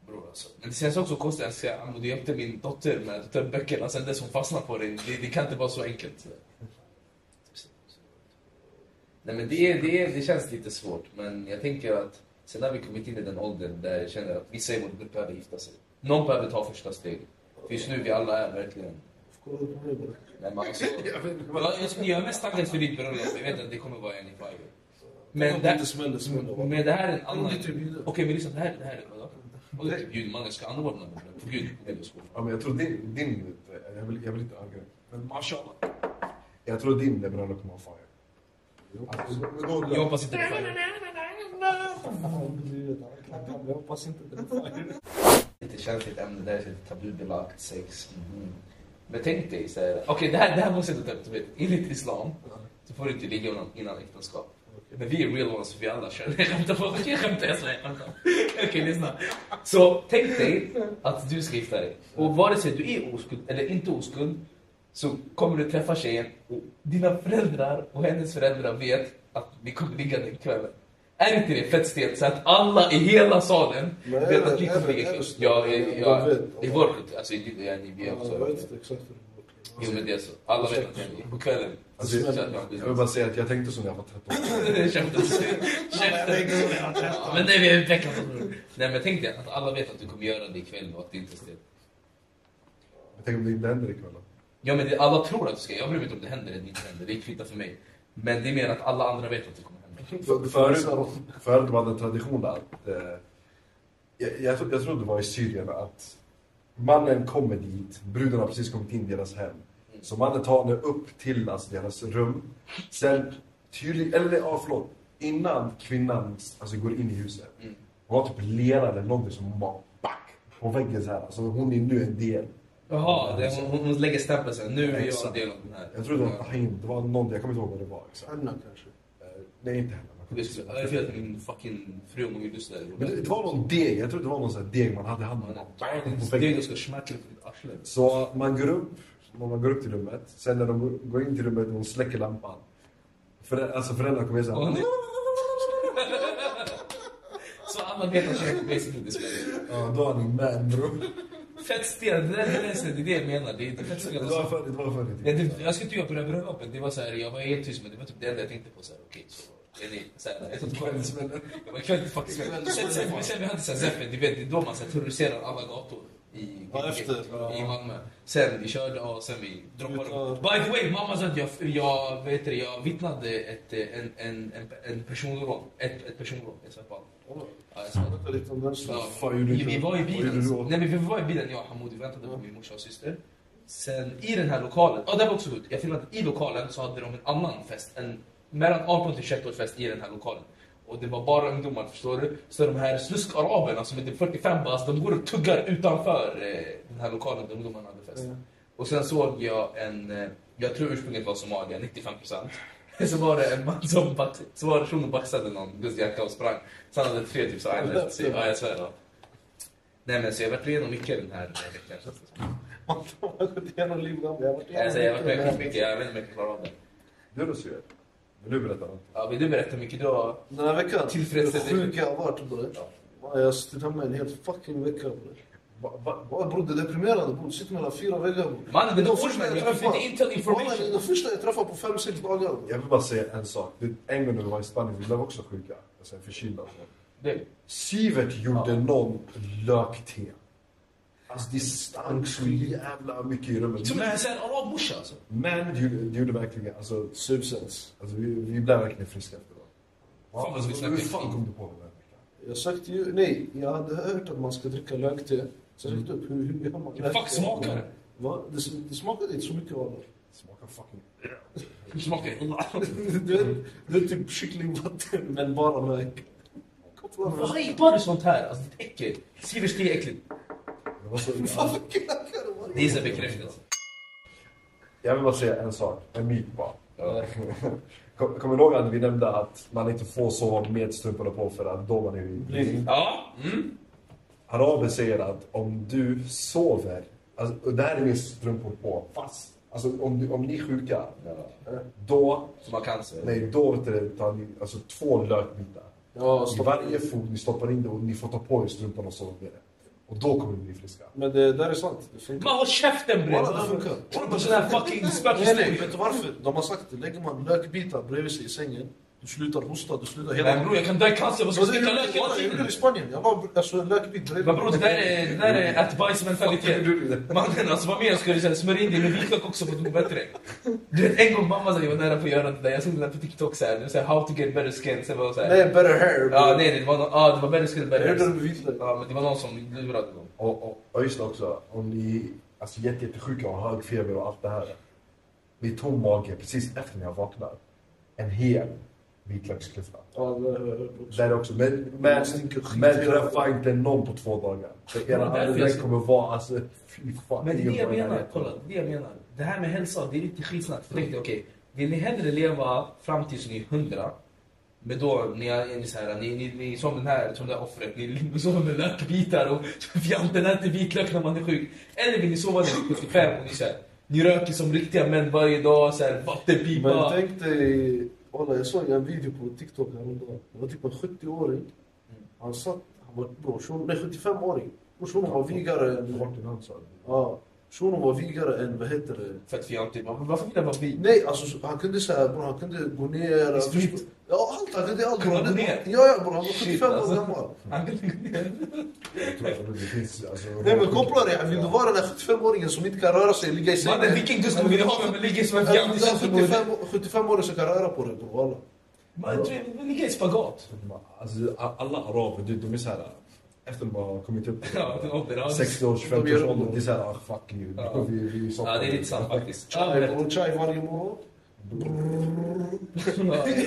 B: bror alltså. Men det känns också konstigt att säga, "Amo, du hjälpte min dotter med att ta upp böckerna, sen dess hon fastnade på det. det, det kan inte vara så enkelt. Nej men det, är, det, är, det känns lite svårt, men jag tänker att sen när vi kommit in i den åldern där jag känner att vissa i vår grupp behöver gifta sig. Någon behöver ta första steget. För just nu vi alla är verkligen
C: Kolla på mig bror.
B: Nej, men alltså, jag, jag, jag är mest taggad för ditt bröllop. Jag vet att det kommer vara en i varje. Men
C: Om det
B: det,
C: inte smäller, smäller. va?
B: men det här är en
C: Om
B: annan...
C: du typ inte bjuder.
B: Okej, men lyssna. Det här, det här är... vadå? Om du inte bjuder mannen ska anordna det. Förbjud. Eller så.
A: Ja, men jag tror din, din jag, vill, jag vill inte angripa. Men mashallah. Jag tror din bröllop kommer vara fire. Alltså, då-
B: Jag hoppas inte det är
C: Jag hoppas inte det.
B: lite känsligt ämne. Det här är lite tabubelagt. Sex. Mm. Men tänk dig så här. Okej, det, här, det här måste jag ta upp. Du vet, enligt Islam så får du inte ligga med någon innan äktenskap. Men vi är real ones, vi alla kör. Jag skämtar, bara. jag skämtar, jag svär. jag skämtar. Okej, lyssna. Så tänk dig att du ska gifta dig. Och vare sig du är oskuld eller inte oskuld så kommer du träffa tjejen och dina föräldrar och hennes föräldrar vet att vi kommer ligga den kvällen. Är inte det fett stelt så att alla i hela salen
C: Men är
B: vet
C: det-
B: att vi
C: är
B: kommer
C: det-
B: ligga
C: är det
B: kväll?
C: så?
B: Ja, ja,
C: Jag
B: ja,
C: vet.
B: i vår kultur. Alltså, i- ja, vi är
C: Jag
B: också...
C: vet inte exakt hur det går
B: Jo,
C: till.
B: men det är så. Alla vet att det är på kvällen.
A: Alltså,
B: Så att jag-
A: Jag vill bara säga att jag tänkte som när jag var 13.
B: Käften. Käften. Ja, Men det är veckans Nej men tänk dig att alla vet att du kommer göra det ikväll och att det inte är stelt.
A: Jag tänkte om det inte händer ikväll då.
B: Ja men det, alla tror att du ska, jag bryr mig inte om det händer eller inte händer, det kvittar för mig. Men det är mer att alla andra vet att det kommer hända.
A: För- Förut, förut var det en tradition där att... Eh, jag, jag, tror- jag tror det var i Syrien att mannen kommer dit, bruden har precis kommit in i deras hem. Så mannen tar henne upp till alltså, deras rum. Sen tydligt, eller ja förlåt, innan kvinnan alltså, går in i huset.
B: Mm.
A: Hon har typ lera eller någonting som hon bara back på väggen så här. Alltså hon är nu en del.
B: Jaha, det, hon, hon lägger stämpeln sen, nu är jag en del av den här.
A: Jag tror det var Ahin, det var någon, jag kommer inte ihåg vad det var exakt.
C: Alltså, Anna kanske.
A: Eh, Nej inte henne. men-
B: Jag skulle- jag vet att min fucking fru om hon gjorde
A: Men det,
B: sådär.
A: det var någon deg, jag tror det var någon sån här deg man hade i handen.
B: Det är ju ska smärta upp ditt arsle.
A: Så man går upp, man man går upp till rummet, sen när de går in till rummet och de släcker lampan. För, alltså föräldrarna kommer in
B: Och hon
A: såhär.
B: är- Så alla vet att jag basically det spelar.
A: Ja, då är ni man bro.
B: Fett stelt, det, där- det, där- det är det jag menar. Det är inte fett
A: Det
B: stelt.
A: var förr det var förr i
B: Jag,
A: tiden.
B: typ, jag skulle inte göra på det här bröllopet. Det var så här, jag var helt tyst men det var typ det enda jag tänkte på. Så här, okej, så är ni så här, jag satt kvar-
A: Kvällsmännen.
B: Det var kväll faktiskt. Sen, sen, sen, sen vi hade så här Zeffen, du vet, det är då man så här, terroriserar alla gator. I,
C: Ja, efter,
B: i,
C: ja.
B: I Malmö. Sen vi körde och sen vi droppade.
C: Utan-
B: By the way, mamma sa att jag, jag, vet det, jag vittnade ett, eh, en, en, en, en personrån. Ett, ett personrån. Jag sa bara,
C: Ja,
B: ja, jag sa,
C: Vänta lite om den så.
B: Ja,
A: fan gjorde
B: vi,
A: du?
B: vi var i
A: Vad gjorde
B: bilen.
A: du då?
B: Nej, men vi var i bilen, jag och Hamoud. Vi väntade på min morsa och syster. Sen i den här lokalen, ja det var också sjukt. Jag filmade att i lokalen så hade de en annan fest. En mellan 18 till 21 års fest i den här lokalen. Och det var bara ungdomar, förstår du? Så de här sluskaraberna som är typ 45 bast, de går och tuggar utanför eh, den här lokalen där ungdomarna hade fest.
C: Ja.
B: Och sen såg jag en, eh, jag tror ursprunget var Somalia, 95 procent. Så var det en man som, bax, så var det en person som baxade någon gudsjacka och sprang. Så han hade tre typ så här,
C: Ja, det-
B: ja jag svär. Ja. Nej men så jag har varit igenom mycket den här eh, veckan känns det som.
C: Man har gått igenom livet. Jag har varit
B: Alltså, Jag har varit med
C: igenom
B: skitmycket, mycket, jag vet inte om jag kan klara av det.
A: Du då Syrien? Vill du berätta något?
B: Ja, vill du berätta mycket då?
C: Den här veckan,
B: Tillfredsställelse.
C: hur sjuk jag har varit bre. Ja, Jag har suttit hemma en hel fucking vecka bre.
A: Va- va-
C: Ja, Bror det är deprimerande bror, sitter mellan fyra väggar bror.
B: Mannen, det är
C: De
B: ord
C: första
B: men
C: jag
B: jag fick
C: träffar-
B: inte intel
C: Mannen,
B: information.
C: De första jag träffar på fem, sex dagar bror.
A: Jag vill bara säga en sak. Det- En gång när vi var i Spanien, vi blev också sjuka. Alltså förkylda. och så.
B: Du,
A: Sivert gjorde någon lökte. Alltså det stank så jävla mycket i rummet.
B: tror du det är en arabmorsa alltså?
A: Men det gjorde, det gjorde verkligen, alltså,
C: Substance.
A: alltså vi, vi blev verkligen friska efteråt.
B: Fan, vad vi snackar
A: Hur fan
B: kring.
A: kom du på det där?
C: Jag sagt ju, nej, jag hade hört att man ska dricka lökte. Så jag sökte upp hur, hur gör man
B: Fuck smakar det?
C: Va? Det, sm- det smakade inte så mycket av det.
A: Smakar fucking...
B: Hur smakar det?
C: Du vet, det är typ kycklingvatten men bara lök. Koppla med.
B: Varför gillar du sånt här? Alltså ditt äckel. Sivers det är äckligt.
A: Jag var så alltså,
C: Varför knackar du? varje
B: Det är så bekräftat.
A: Jag vill bara säga en sak, en myt bara.
B: Ja.
A: Kom- Kommer du ihåg att vi nämnde att man inte får sova med strumporna på för att då man är blind?
B: Ja. Mm.
A: Araber säger att om du sover, alltså, och det här är med strumpor på, fast alltså, om, du, om ni är sjuka, då,
B: Som har cancer.
A: nej, då vet du, tar ni alltså, två lökbitar.
C: Ja,
A: I
F: Mm.
C: stopp.
A: Alltså, varje fot ni stoppar in det och ni får ta på er strumpan och sova med det. Och då kommer ni bli friska.
C: Men det där är sant. Det funkar.
B: Man håll käften bre!
C: Walla, det funkar.
B: Håll på sån här fucking
C: Nej, nej,
B: spökhistoria.
C: vet du varför? De har sagt det. Lägger man lökbitar bredvid sig i sängen, du slutar hosta, du slutar hela...
B: Men bror jag kan dö i cancer, vad ska
C: Så
B: jag
C: det
B: sticka
C: gjorde-
B: lök hela
C: Walla, jag gjorde det
B: tiden?
C: i Spanien. Jag var alltså, en lökbit bredvid.
B: Men bror det där är, det där är advice-mentalitet. Mannen alltså vad mer ska du säga? Smörj in dig med vitlök också för att må bättre. Du vet en gång mamma sa jag var nära på att göra det där. Jag såg det där på TikTok såhär. Det var såhär how to get better skin. Sen var det såhär.
C: Nej, better hair.
B: Ja nej nej, det var någon, ah, det var better skin
C: Jag
B: better.
C: gjorde det med vitlök.
B: Ja men det var någon som lurade dem.
A: Och, och, och just det också, om ni är alltså, jätte, jättesjuka och har hög feber och allt det här. Med tom mage precis efter när jag vaknar. En hel.
E: vitlöksklyfta.
C: Ja, det har jag hört också.
A: Där också. Men, men,
C: Det stinker skit
A: men
C: hela
A: träffa inte någon på två dagar. För era
F: Där
A: andedräkt
F: finns-
A: kommer vara alltså, fy fan.
F: Men det är det
A: ingen
F: jag
A: bra
F: menar.
A: närhet.
F: Kolla, det är det jag menar. Det här med hälsa, det är lite skitsnack. Tänk dig, okej. Vill ni hellre leva fram tills ni är hundra? Men då, ni är, är ni så här, ni, ni, ni är som den här, som det där offret, ni ligger och sover med lökbitar och fjanten äter vitlök när man är sjuk. Eller vill ni sova när ni är 75 och ni så här, ni röker som riktiga män varje dag, så här,
C: Men
F: vattenpipa.
C: tänk dig, Ola, jag såg en video på TikTok eh, häromdagen. Det var typ en 70-åring. Han satt, han var brorson, nej 75-åring. Brorson var vigare än,
A: Martin han sa det.
C: ja, shunon var vigare än, vad heter det?
B: För att fjantig, varför varför vill jag vara vit?
C: Nej, alltså så- han kunde säga, bror han kunde gå ner.
F: Sprit.
C: eh, Ja, allt. Han kunde allt.
F: Kunde
C: Han
F: han gå
C: hade-
F: ner?
C: Ja, ja bror, han var
F: Shit,
C: 75 år
F: alltså.
C: gammal.
F: Han vill gå ner.
A: Jag tror att det finns, alltså,
C: Nej men koppla dig, vill du vara den där 75-åringen som inte kan röra sig, ligga i
F: Mannen,
C: sängen?
F: vilken gusto vill ni ha men ligger som en
C: Ja,
F: fjantig?
C: men den 75 75-åringen som kan röra på dig bror, walla.
F: Ah, Man tror- ligger i spagat.
A: Alltså, a- alla araber, du, de är såhär... Efter de har kommit upp
F: Ja, det är overallt.
A: 60 års, 50 års ålder, det är såhär, ah, fuck you.
F: Ja.
A: Vi, vi så-
F: Ja, det är lite sant faktiskt. Ja,
C: Chai
F: men-
C: bror, chai varje morgon. Brrrr.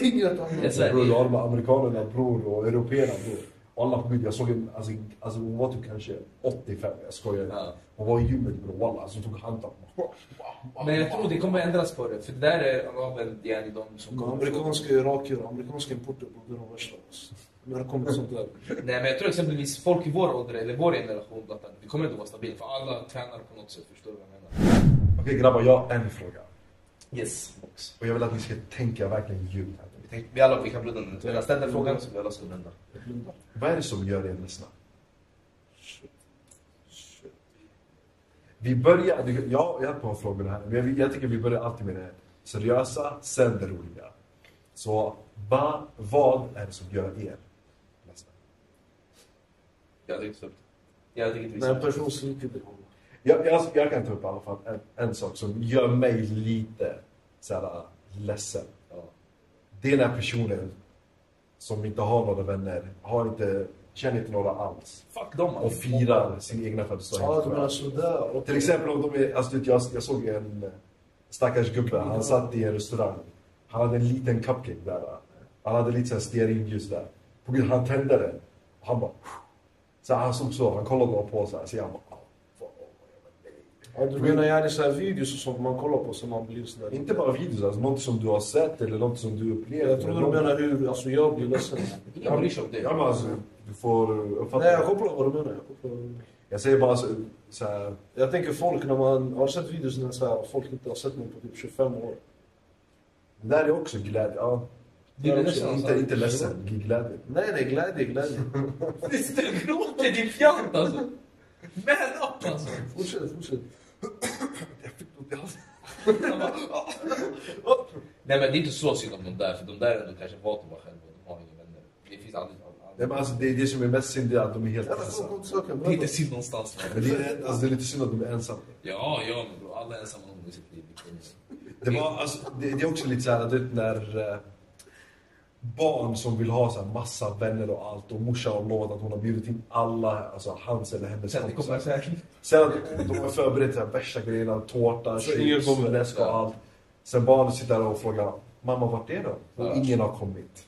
C: Inget annat.
F: Yes. Så här,
A: bror,
F: det-
A: du har de här amerikanerna bror och européerna bror. Och alla på gud, jag såg en, alltså, alltså hon var typ kanske 85, jag skojar inte.
B: Ja.
A: Hon var i gymmet bror, wallah, alltså hon tog handtag.
F: Men jag tror det kommer ändras på det. För det där är araben, det är de som
C: Men
F: kommer.
C: Amerikanska irakier och amerikanska importer bror, det är de värsta. alltså. När det kommer till sånt där.
B: Nej men jag tror exempelvis folk i vår ålder, eller vår generation, blattar, vi kommer inte vara stabila. För alla tränar på något sätt, förstår du vad jag menar?
A: Okej grabbar, jag har en fråga.
B: Yes.
A: Och jag vill att ni ska tänka verkligen djupt här.
B: Vi, tänkte, vi alla vi kan blunda nu. Jag ställde frågan så vi alla ska blunda.
A: Vad är det som gör er ledsna? Vi börjar, du- jag, jag har ett par frågor här, men jag, jag tycker vi börjar alltid med det seriösa, sen det roliga. Så va, vad är det som gör er ledsna?
B: Jag hade inte stått. Jag hade inte
C: När en
B: visat.
C: person sviker dig. walla.
A: Jag, jag, jag kan ta upp i alla fall en, en sak som gör mig lite så här, ledsen. Det är när personen som inte har några vänner, har inte, känner inte några alls
B: Fuck dem alltså. man.
A: och firar sin egna födelsedag.
C: Ja, du menar sådär. okej.
A: Till exempel om de är, alltså, du vet, jag, jag såg en eh, stackars gubbe, han satt i en restaurang. Han hade en liten cupcake där. va. Han hade lite så här stearinljus där. På grund han tände den. Och han bara... Så han såg så, han kollade bara på så här. Så jag bara... "Ah, fan, oh,
C: Ja, du menar yani såhär videos och sånt man kollar på så man blir sådär.
A: Inte bara videos, alltså något som du har sett eller något som du upplevt.
C: Jag trodde du menar hur, alltså jag blir ledsen.
B: Ingen bryr sig om
A: Ja
B: det.
A: men alltså, du får uppfatta.
C: Nej, jag kopplar vad du menar. Jag, kopplar vad du menar.
A: Jag säger bara så, så här,
C: jag tänker folk när man har sett videos när så här, folk inte har sett mig på typ 25 år.
A: det där är också glädje. Ja,
F: Det är
A: också,
F: nästan
A: inte, inte ledsen, glädje.
C: Nej, nej, glädje, glädje.
F: Det sitter och gråter, din fjant alltså. Man up alltså.
C: Fortsätt, fortsätt.
B: Nej men det är inte så synd om de där, för de där är ändå kanske valt att vara själva och de har inga vänner. Det finns aldrig...
A: Nej, men alltså, det, det som är mest synd är att de är helt
C: Jävlar, kom,
A: ensamma.
C: kom till saken.
F: Det är
C: berätta.
F: inte synd någonstans. Man.
A: Men det, är, alltså, det är lite synd att de är ensamma.
B: Ja, ja men bror. Alla är ensamma någon gång i sitt liv. liksom.
A: Det, var, alltså, det, det är också lite så här, du vet när eh, barn som vill ha så här, massa vänner och allt och morsan har lovat att hon har bjudit in alla, alltså hans eller hennes
F: Sen det
B: liksom-
F: kommer så här.
A: Sen att de har förberett så här, värsta grejerna, tårta,
C: Så ingen
A: chips,
C: kommer.
A: läsk och
B: Ja.
A: allt. Sen barnet sitter där och frågar mamma vart är de? Och
B: Ja.
A: ingen har kommit.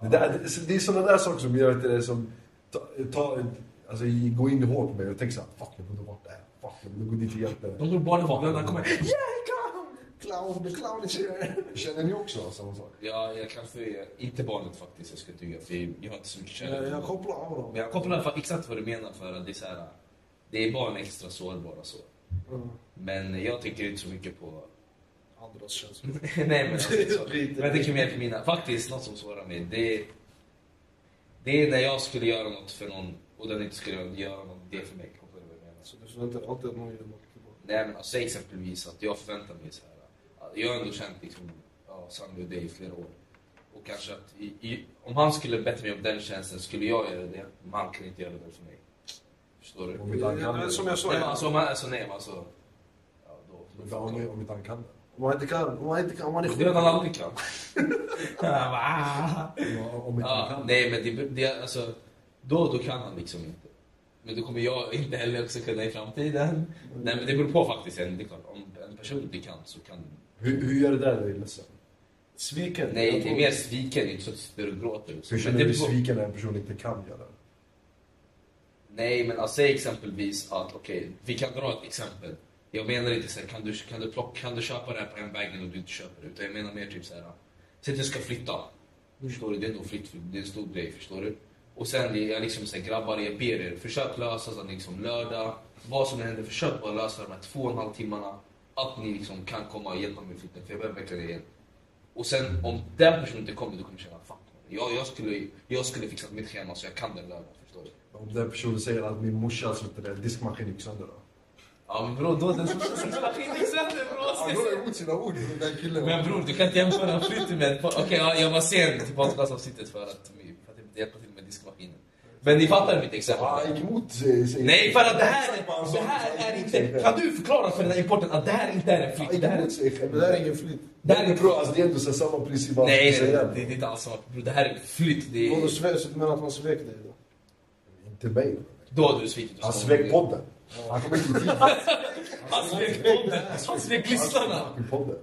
A: Det, där, det, det är sådana där saker som gör att det är som ta, ta, alltså, gå in hårt på mig och tänka såhär, fuck jag borde varit där, fuck jag borde gå dit och hjälpa dig.
F: De tror barnen var vänner. kommer.
A: Clown, the clown is here. Känner ni också samma sak?
B: Ja, jag kanske... Inte barnet faktiskt, jag skulle tycka. För jag har inte så mycket
C: Jag,
B: kärlek.
C: Eh, jag kopplar av dem.
B: Men jag kopplar för exakt vad du menar för att det är så här, det är barn extra sårbara så.
C: Mm.
B: Men jag tänker inte så mycket på...
C: Andras känslor.
B: Nej men alltså, så.
C: Skit i
B: Men jag tänker mer på mina... Faktiskt, något som sårar mig det är... Det är när jag skulle göra något för någon och den inte skulle göra något det för mig. Kopplar du vad jag menar?
C: Så du förväntar dig alltid att någon gör något tillbaka.
B: Nej men alltså, säg exempelvis att jag förväntar mig så här. Jag har ändå känt liksom, ja, Sandro och dig i flera år. Och kanske att i, i, om han skulle bättre mig om den tjänsten skulle jag göra det. Men han kan inte göra det för mig. Förstår du?
A: Om inte han
C: Ja,
A: kan
C: men
A: det.
C: Som jag sa,
B: Nej, men
C: ja.
B: alltså, om man, alltså, nej, men alltså... Ja, då,
A: Om
B: då
A: han- Om inte han kan det.
C: om man inte kan, om man inte kan, om man är
B: det är
C: sjuk.
B: han aldrig kan. Han bara, "Ah."
A: Om- Om inte han
B: ja,
A: kan det.
B: nej, men det, det, alltså, då, då kan han liksom inte. Men då kommer jag inte heller också kunna i framtiden. Nej, men det beror på faktiskt. Det är klart, om en person inte kan så kan...
A: Hur, hur gör det där dig ledsen?
C: Sviken.
B: Nej, det är mer sviken, inte så att du sitter och gråter.
A: Hur
B: liksom. Men
A: känner
B: det
A: du
B: beror-
A: dig sviken när en person inte kan göra det?
B: Nej, men alltså, säg exempelvis att, okej, vi kan dra ett exempel. Jag menar inte så här, kan du, kan du, plocka, kan du köpa det här på en vägen och du inte köper det? Utan jag menar mer typ så här, säg att jag ska flytta. Förstår du? Det är ändå flytt, det är en stor grej, förstår du? Och sen är jag liksom så här, grabbar, jag ber er, försök lösa så att ni liksom lördag, vad som än händer, försök bara lösa de här två och en halv timmarna. Att ni liksom kan komma och hjälpa mig med flytten, för jag behöver verkligen er hjälp. Och sen om den personen inte kommer, då kommer jag känna, fan. Jag, jag, skulle, jag skulle fixa mitt schema så jag kan den lördagen, förstår du?
A: Om den personen säger att min morsa suttit där, diskmaskinen gick sönder då?
B: Ja men bror, då den som inte sönder bror.
E: går emot sina ord, den där killen.
B: Men bror, du kan inte jämföra flytt med... Okej, ja, jag var sen till podcastavsnittet för att, för att jag inte hjälpa till med diskmaskinen. Men ni fattar mitt
E: Ja,
B: exempel?
E: Han gick emot eh, sig.
B: Nej, för att det här, det här är inte... Kan du förklara för den här importen att det här inte är en
E: Han
B: flytt?
E: gick
B: Det här,
E: emot sig själv.
C: Det där är ingen flytt.
B: det här är...
A: Bro, alltså, det är ändå så här samma princip vad
B: Nej,
A: du
B: nej,
A: säger.
B: det är inte alls samma. Bror, det här är flytt. Det
C: Vadå,
B: är,
C: sve- så du menar att han svek dig då?
A: Inte mig.
B: då har du svikit.
A: Han svek podden. Han kom inte i tid
B: Han svek podden. Han svek lyssnarna.
A: till podden.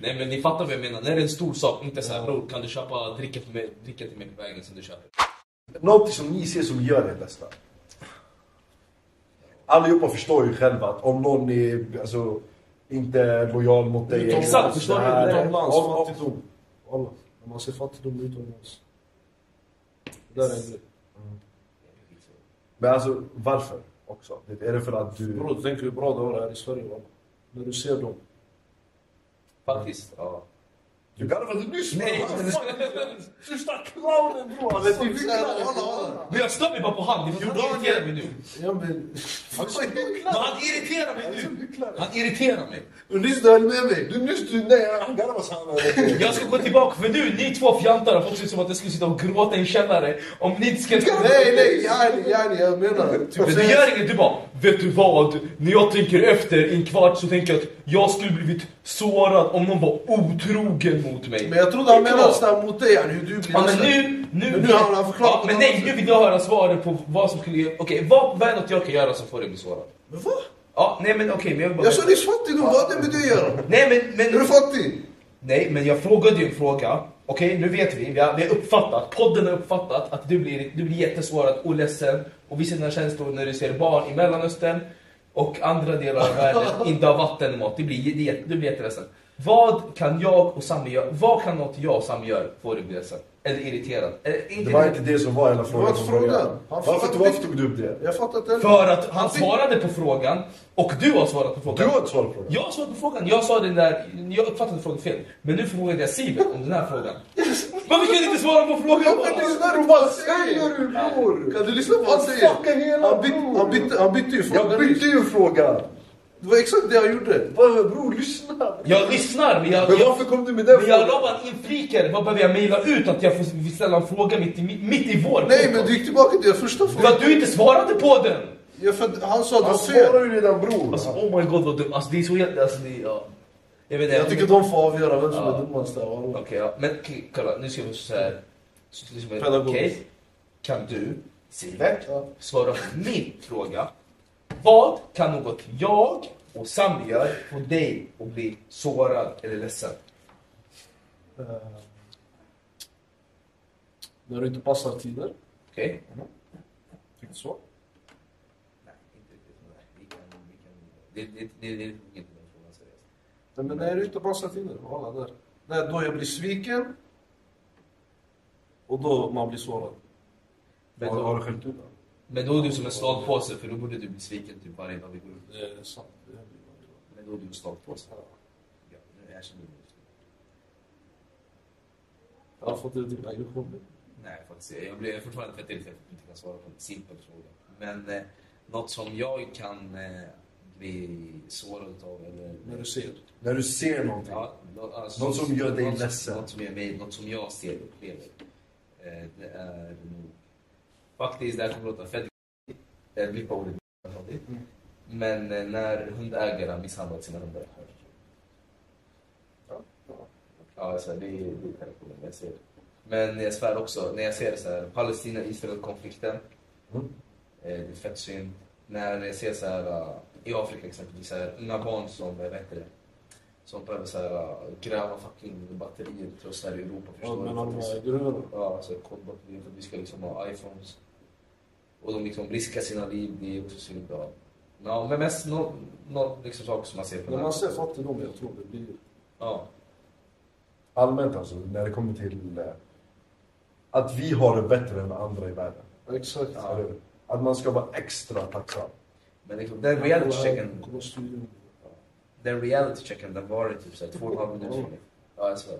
B: Nej men ni fattar vad jag menar, när det är en stor sak, inte så här bror kan du köpa dricka, för mig, dricka till mig på vägen som du köper.
A: Något som ni ser som gör det bästa. Allihopa förstår ju själva att om någon är alltså, inte är lojal mot dig.
C: Utomlands,
B: Exakt,
A: eller
B: förstår
A: det
B: du?
A: här-
C: Utomlands,
A: Om- om-
C: fattigdom. Alla. När man ser fattigdom utomlands. Det där är en grej.
A: Men alltså varför också? Det är det för att du...
C: Bror, du tänker hur bra det var här i Sverige va? När du ser dem.
B: Faktiskt. Ja.
A: Du kan väl inte nyss?
B: Nej!
A: Första clownen bror! Han
C: Alltså,
A: lät ju
B: Men jag stör mig bara på han, det är för att han irriterar mig nu.
C: Ja men...
B: Men han irriterar mig nu! Han irriterar mig.
E: Och nyss du höll med mig. Du nyss du... Nej, han garvade så han hade...
B: Jag ska gå tillbaka för nu, ni två fjantar har fått se ut som att jag skulle sitta och gråta i en källare om ni inte ska...
E: Nej, nej, yani, yani, jag menar.
B: Typ, Men du gör inget, du bara Vet du vad? När jag tänker efter i en kvart så tänker jag att jag skulle blivit sårad om någon var otrogen mot mig.
E: Men jag trodde han menade sådär mot dig, yani, hur du blir
B: Ja, men
E: nästan-
B: nu, nu,
E: Men nu har han förklarat
B: Ja, men nej, nu vill jag höra svaren på vad som skulle... Okej, vad, vad är något jag kan göra som får dig bli sårad?
E: Men vad?
B: Ja, nej men okej, men jag vill bara...
E: Jag sa nyss fattigdom, vad hade det med dig att göra?
B: Nej men...
E: Är du
B: men
E: fattig?
B: nej, men jag frågade ju en fråga. Okej, nu vet vi. Vi har, vi har uppfattat, podden har uppfattat att du blir, du blir jättesårad och ledsen och visar dina känslor när du ser barn i Mellanöstern och andra delar av världen inte har vatten och mat. Du blir, det, är- du blir jätteledsen. Vad kan jag och Sami göra? Vad kan något jag och Sami gör få dig att bli ledsen? Eller irriterad? Eller, inte
A: Det var
B: irriterad.
A: inte det som var hela
C: var
A: frågan.
C: inte
A: från början.
C: frågan. Han
A: Varför,
C: fick-
A: varför tog du upp det?
C: Jag fattar inte heller.
B: För att han svarade på frågan och du har svarat på
A: Du
B: frågan.
A: har ett svar på frågan.
B: Jag svarade på frågan, jag sa den där, jag uppfattade frågan fel. Men nu frågade jag Sivert om den här frågan. Varför kan du inte svara på frågan
E: Men
B: bara?
E: lyssna på vad han säger du bror! Kan du lyssna på vad han säger?
A: fuckar hela
E: Han, byt, han, bytte, han bytte ju fråga
A: Jag bytte
E: nyss.
A: ju frågan.
E: Det var exakt det han gjorde.
A: Vad, Bror, lyssna.
B: Jag lyssnar men jag...
A: Men
B: jag
A: varför kom du med den
B: men jag
A: frågan?
B: la bara en inflikare, vad behöver jag mejla ut att jag får ställa en fråga mitt i, mitt i vår?
E: Nej men du gick tillbaka till den första
B: För
E: frågan.
B: att du inte svarade på den!
E: Ja, för att han sa att
A: Han
E: han ser.
A: svarar ju redan bror.
B: Alltså oh my god vad dumt, alltså det är så jävla... Alltså det är... Ja. Jag vet inte.
C: Jag tycker de får avgöra vem som
B: Ja.
C: är dummast där. wallah.
B: Okej, ja. men k- kolla, nu ska vi så här. så- så- så- Okej,
C: Pedagogiskt.
B: kan du, Sivert,
C: Ja.
B: svara på min fråga? Vad kan något jag och Sami gör få dig att bli sårad eller ledsen?
C: Eh, När du inte passar tider.
B: Okej?
C: Tyckte så.
B: Nej, inte riktigt. Nej, vi kan- vi kan- det- det- det- det är inte den frågan seriöst.
C: Nej, men när du inte passar tider. Alla där. Nej, då jag blir sviken. Och då man blir sårad.
B: Men
A: Har- Har du
B: då-
A: skällt ut honom?
B: Men då är du som en slagpåse för då borde du bli sviken typ varje dag vi går ut.
C: Det är sant. Det är
B: Men då är du en slagpåse. Ja, nu erkänner du det.
C: Jag har fått ut din aggression.
B: Nej, faktiskt. Jag blir fortfarande trött i att jag inte kan svara på en simpel fråga. Men eh, något som jag kan eh, bli sårad av
C: När
B: eller...
C: du ser.
A: När du ser någonting.
B: Ja, nå- alltså,
A: Något som gör dig
B: något som-
A: ledsen.
B: Något som gör mig, något som jag ser och upplever. Eh, det är nog... Faktiskt, det här kommer låta fett... eh, Blippa ordet.
A: Mm.
B: Men eh, när hundägare har misshandlat sina hundar. Ja, alltså, det är det är traditionen, jag ser det. Men jag svär också, när jag ser så här, Palestina-Israel-konflikten,
A: Mm.
B: eh, det är fett synd. När jag ser så här, eh, i Afrika exempelvis, så här, unga barn som, eh, vet du, Som behöver så här, äh, gräva fucking batterier trossar i Europa.
C: Ja,
B: Förstår
C: men
B: du?
C: alla
B: För att vi-
C: gruvorna.
B: Ja, så kodbatterier för att vi ska liksom ha iPhones. Och de liksom riskar sina liv, det är också synd. Ja. Ja, men mest något no, liksom saker som man ser på
C: När
B: den här.
C: man ser fattigdom, jag tror det blir...
B: Ja.
A: Allmänt alltså, när det kommer till eh, att vi har det bättre än andra i världen.
C: Exakt.
A: Så är det. Att man ska vara extra tacksam.
B: Men liksom, den reality checken,
C: Kolla studion.
B: den reality checken den varar typ såhär två och en halv
A: Oh.
B: minut för mig. Ja, jag svär.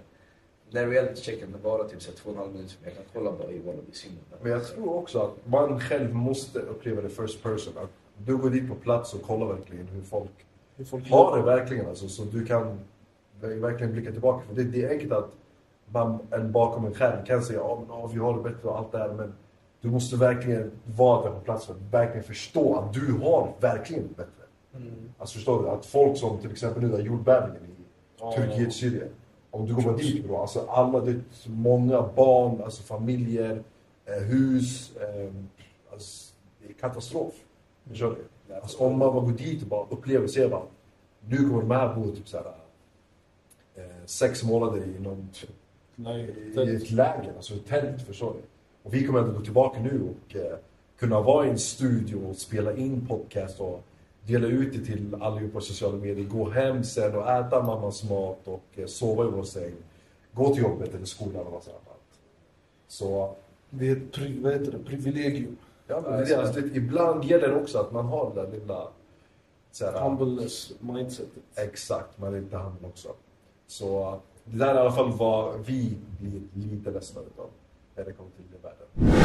B: Den reality checken den varar typ såhär två och en halv minut för mig. Jag kan kolla bara i vad det blir synd.
A: Men jag tror också att man själv måste uppleva det first person. Att du går dit på plats och kollar verkligen hur folk
C: Hur folk
A: har det verkligen. Alltså, så du kan verkligen blicka tillbaka. För det, det är enkelt att man en bakom en skärm kan säga att men ja, vi har det bättre och allt det här. Men du måste verkligen vara där på plats för att verkligen förstå att du har verkligen det bättre. Alltså förstår du? Att folk som till exempel nu där jordbävningen i Turkiet, Syrien. Om du kommer dit bro, alltså alla, det är många barn, alltså familjer, eh, hus, eh, alltså, det är katastrof. Förstår du? Alltså, om man bara går dit och bara upplever och ser bara, nu kommer de här bo typ så här, eh, sex månader i, någon, typ- i
C: Nej,
A: ett läger, alltså ett tält, förstår ni? Och vi kommer ändå gå tillbaka nu och eh, kunna vara i en studio och spela in podcast och dela ut det till allihopa på sociala medier, gå hem sen och äta mammas mat och eh, sova i vår säng, gå till jobbet eller skolan eller något sånt. annat. Så
C: det är ett pri- vad heter det? privilegium.
A: ja, men det, är alltså, det, ibland gäller det också att man har det där lilla så här,
C: Humbleness mindsetet.
A: Exakt, man är inte handel också. Så uh, det där är i alla fall vad vi blir lite ledsna utav när det kommer till det världen.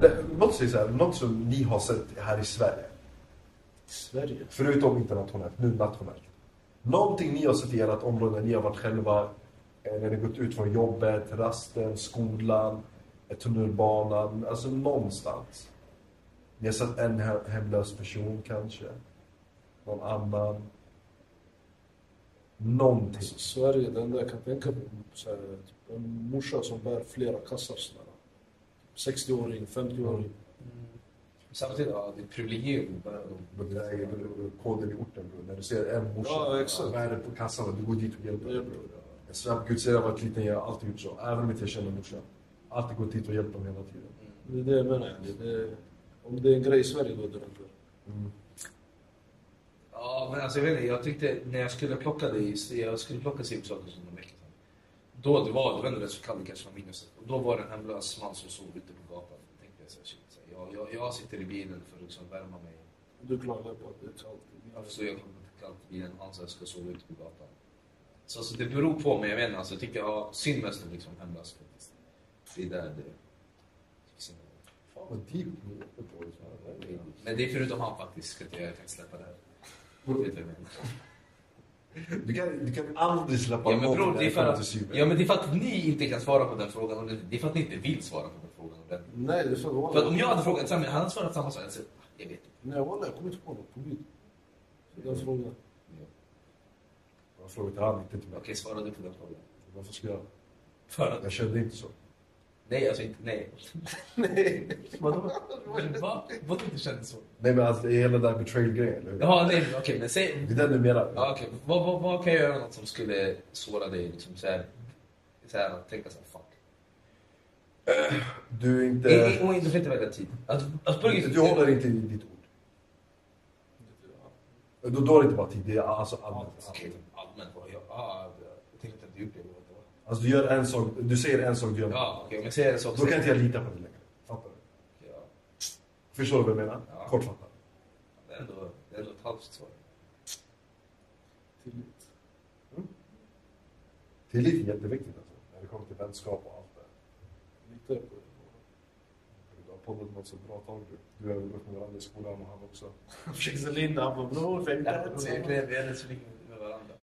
A: Det- Något, som är så här, något som ni har sett här i Sverige,
C: Sverige.
A: förutom internationellt, nu nationellt. Någonting ni har sett i ert område när ni har varit själva, eh, när ni gått ut från jobbet, rasten, skolan, eh, tunnelbanan, alltså någonstans. Ni har sett en he- hemlös person kanske, någon annan. Någonting.
C: Alltså, Sverige, det enda jag kan tänka på så här, typ, en morsa som bär flera kassar. såna här. 60-åring, 50-åring.
B: Samtidigt, ja, det är privilegium. bara de-
A: Men det där är väl koden i orten bror. När du ser en morsa
C: Ja, exakt.
A: bär det på kassan och du går dit och hjälper.
C: Hjälper.
A: bror. Jag svär på gud, sedan jag var liten jag har alltid gjort så. Även om inte jag känner morsan. Alltid gått dit och hjälpt dem hela tiden.
C: Det är det jag menar. Det är, om det är en grej i Sverige går det runt.
B: Ja, men alltså jag vet inte, jag tyckte när jag skulle plocka det, jag skulle plocka simsaker som en vecka sedan. Då det var, det var ändå rätt så kallt kanske från minus. Och då var det en hemlös man som sov ute på gatan. Då tänkte jag så här, shit, så här, jag, jag, jag sitter i bilen för att liksom värma mig.
C: Du klagar på att det är kallt.
B: Jag förstår, jag kommer inte kallt i bilen, han så här, ska sova ute på gatan. Så alltså, det beror på, men jag vet inte, alltså, jag tycker ja, synd mest om liksom hemlös faktiskt. Det är där det... synd om.
A: Fan vad deep ni är uppe på. just nu.
B: Men det är förutom han faktiskt, ska jag inte- jag kan inte släppa det här. Vet du vad jag menar?
A: Du kan, du kan aldrig släppa
B: Ja men,
A: någonting
B: bror, det är
A: därifrån
B: för
A: till
B: att,
A: syvende.
B: ja men det är för att ni inte kan svara på den frågan. och Det är för att ni inte vill svara på den frågan. ordentligt.
C: Nej, det är för
B: För att om
C: vanligt.
B: jag hade frågat Sami, han hade svarat samma sak. Jag hade sagt, "Ah, Jag vet inte.
C: Nej, walla, jag kommer inte på något på gud. Den frågan.
A: Jag har frågat till han, inte till mig.
B: Okej, svara du på den frågan.
A: Varför ska jag?
B: För att,
A: Jag kände inte så.
B: nej alltså inte, nej. Vadå? Va? Vadå inte kändes så?
A: Nej men alltså det är hela den där betrayal-grejen, eller hur?
B: Jaha, nej, men okej, men säg.
A: Det är den du menar?
B: Ja, okej. Vad, vad, vad kan jag göra något som skulle såra dig? Liksom så här, så här att tänka så här, fuck.
A: Du är inte...
B: Det... eh, Och inte får inte välja tid. Att, att på riktigt-
A: Du håller inte i ditt ord. Då, då är det inte bara tid, det är alltså
B: Ja,
A: allmänt.
B: Okej, allmänt vad jag... Ja, ah, jag tänkte inte att du gjorde det.
A: Alltså du gör en sak, du säger en sak, du gör en
B: Ja, okej, men jag säger en sak.
A: Då kan inte jag lita på dig längre. Fattar du?
B: Ja,
A: Förstår du vad jag menar?
B: Ja.
A: Kortfattat.
B: det är ändå, det är ändå ett halvt svar.
C: Tillit.
A: Tillit är jätteviktigt alltså. När det kommer till vänskap och allt det.
C: Litar jag på det.
A: Du har poddat något så bra tag du. Du har väl gått med varandra i skolan och han också.
C: Försökte sälja in det, han bara bror, fem
B: Vi är rätt så lika med varandra.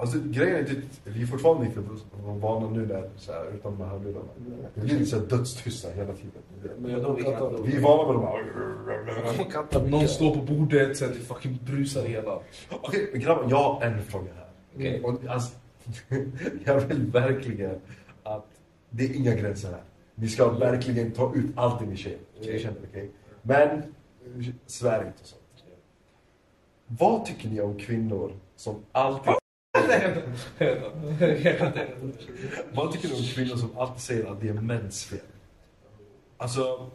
A: Alltså grejen är att vi är fortfarande inte vana nu när, så här, utan de här lurarna. Det blir lite så här dödstysta hela tiden.
C: Men jag tror katta då.
A: Vi är vana med de här...
C: Katta
B: Någon står på bordet, sen det fucking brusar hela.
A: Okej, men grabbar, jag har en fråga här.
B: Okej.
A: Och, alltså, jag vill verkligen att det är inga gränser här. Ni ska verkligen ta ut allting ni känner.
B: Okej.
A: känner okej? Men eh, svär inte och sånt. Vad tycker ni om kvinnor som alltid Vad tycker du om kvinnor som alltid säger att det är mäns fel? Alltså,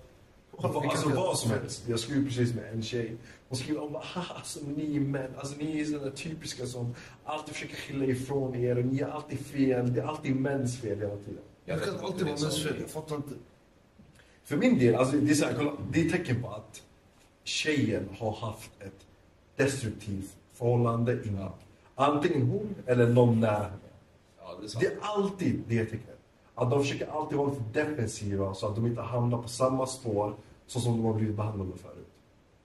A: vad, alltså vad som helst. Jag skrev precis med en tjej. Hon skrev om haha, alltså, ni är män. Alltså, ni är sådana typiska som alltid försöker skilja ifrån er. Och ni är alltid fel. Det är alltid mäns fel hela tiden.
C: Det kan alltid vara mäns fel, jag fattar inte.
A: För min del, alltså, det, är så här, kolla, det är ett tecken på att tjejen har haft ett destruktivt förhållande innan. Antingen hon eller någon nära henne.
G: Ja, det är
A: Det
G: sant.
A: är alltid det tecknet. Att de försöker alltid vara lite defensiva så att de inte hamnar på samma spår så som de har blivit behandlade förut.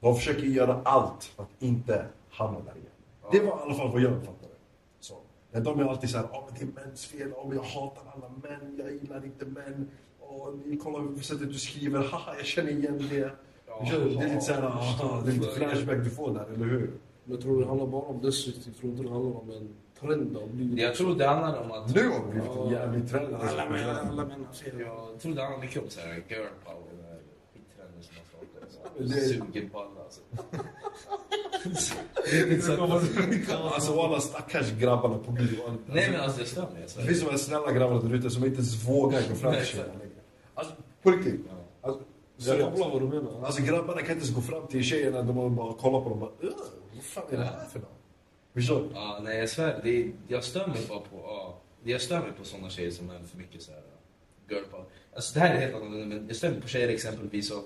A: De försöker göra allt för att inte hamna där igen. Det var i alla fall vad jag uppfattade. Så. Men de är alltid så här, "Ah, men det är mäns fel, oh, jag hatar alla män, jag gillar inte män. Och ni kollar på sättet du skriver, haha jag känner igen det. Du känner- det är lite så här, "Ah, det är lite flashback du får där, eller hur?
C: Men jag tror det handlar bara om destruktivt, jag tror inte det handlar om en trend av livet.
B: Jag tror det handlar om att...
A: Nu har det blivit en jävlig trend.
C: Alla män, alla män har fel.
B: Jag tror det handlar mycket om så här girl power. den här skittrenden som har startat.
A: Det-
B: Sugen på alla alltså.
A: Alltså alla stackars grabbarna på bio.
B: Nej men alltså det stör mig. Alltså.
A: Det finns de här snälla grabbarna där ute som inte ens vågar gå fram till tjejerna längre. Alltså, på riktigt. Alltså,
C: Så jag
A: seriöst.
C: kollar vad du menar.
A: alltså grabbarna kan inte ens gå fram till tjejerna. De bara kollar på dem och bara "Ugh, Vad fan är det här för något? Förstår du?
B: Ja, nej jag svär, det är, jag stör mig bara på, ja, Det jag stör mig på sådana tjejer som är för mycket så här girl power. Alltså det här är helt annorlunda men jag stör mig på tjejer exempelvis som,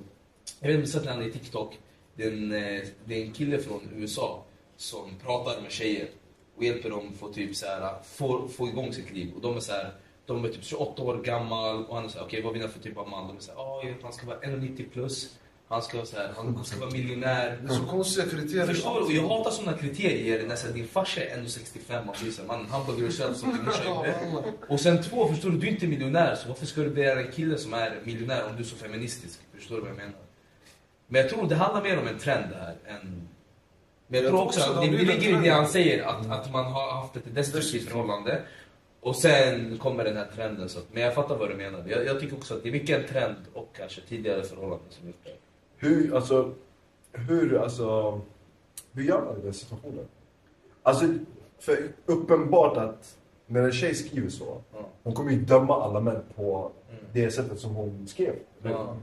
B: jag vet inte om ni sett när han är i TikTok, det är, en, eh, det är en kille från USA som pratar med tjejer och hjälper dem få typ så här, få, få igång sitt liv och de är så här de är typ 28 år gammal och han är såhär, okej vad vill jag för typ av man? De är såhär, ah, jag vet, han ska vara 1,90 plus, han ska, vara så här, han, han ska vara miljonär,
C: Det är så konstiga kriterier.
B: Förstår du? Och jag hatar sådana kriterier när så här, din farsa är 1,65 man blir såhär, man hamburgare och kött som din morsa gjorde. Och sen två, förstår du? Du är inte miljonär så varför ska du begära en kille som är miljonär om du är så feministisk? Förstår du vad jag menar? Men jag tror det handlar mer om en trend det här än... Men jag tror också att det det ligger i det han säger att, att man har haft ett Mm. destruktivt förhållande och sen kommer den här trenden. Så att, men jag fattar vad du menar. Jag, jag tycker också att det är mycket en trend och kanske tidigare förhållanden som gjort det.
A: Hur, alltså, hur, alltså, hur gör man i den situationen? Alltså, för uppenbart att när en tjej skriver så,
B: Ja.
A: hon kommer ju döma alla män på det sättet som hon skrev.
B: Mm. Ja.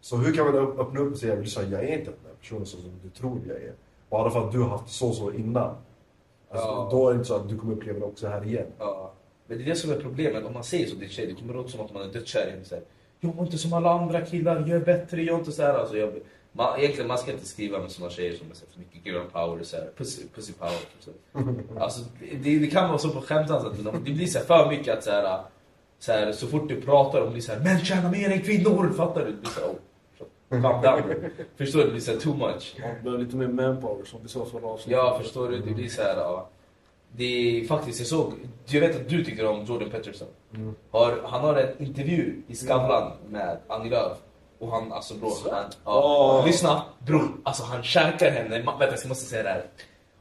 A: Så hur kan man ö- öppna upp sig och säga jag är inte den där personen som du tror jag är. Bara för att du har haft så och så innan. Alltså,
B: Ja.
A: Då är det inte så att du kommer uppleva det också här igen.
B: Ja. Men det är det som är problemet. Om man säger så till tjej, det kommer låta som att man är dödskär. i henne, så här, Jag är inte som alla andra killar, jag är bättre, jag är inte så här. Alltså, jag, man, egentligen, man ska inte skriva med såna tjejer som är så här för mycket girl power, så här, pussy, pussy power. typ Så. här. Alltså, det, det kan vara så på skämtsamt sätt, men om det blir så här för mycket att så här, så, här, så fort du pratar om det så här, män tjänar mer än kvinnor, fattar du? Det blir så här, oh. Calm down. Förstår du? Det blir så här too much.
C: Man behöver lite mer manpower som vi sa förra avsnittet.
B: Ja, förstår du? Det blir så här, ja. Det är faktiskt, jag såg, jag vet att du tycker om Jordan Peterson. Har, han har en intervju i Skavlan med Annie Lööf. Och han, alltså bror, han, ja,
A: Åh.
B: lyssna, bror, alltså han käkar henne. Ma- Vänta, jag måste säga det här.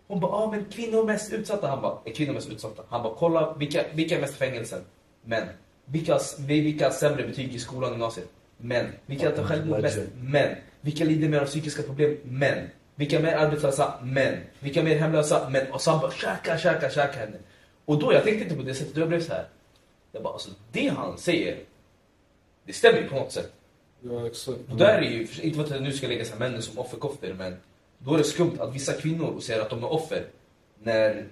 B: Hon bara, ah, men kvinnor är mest utsatta. Han bara, är kvinnor mest utsatta? Han bara, kolla vilka, vilka är mest i fängelsen? Män. Vilka, vilka har sämre betyg i skolan och gymnasiet? Män. Vilka tar självmord mest? Män. Vilka lider mer av psykiska problem? Män. Vilka är mer arbetslösa? Män. Vilka är mer hemlösa? Män. Och så han bara, käka, käka, käka henne. Och då, jag tänkte inte på det sättet, jag blev så här. Jag bara, alltså det han säger, det stämmer ju på något sätt.
C: Ja, exakt.
B: Och där är ju, för- inte för att jag nu ska lägga så här männen som offerkoftor, men då är det skumt att vissa kvinnor säger att de är offer när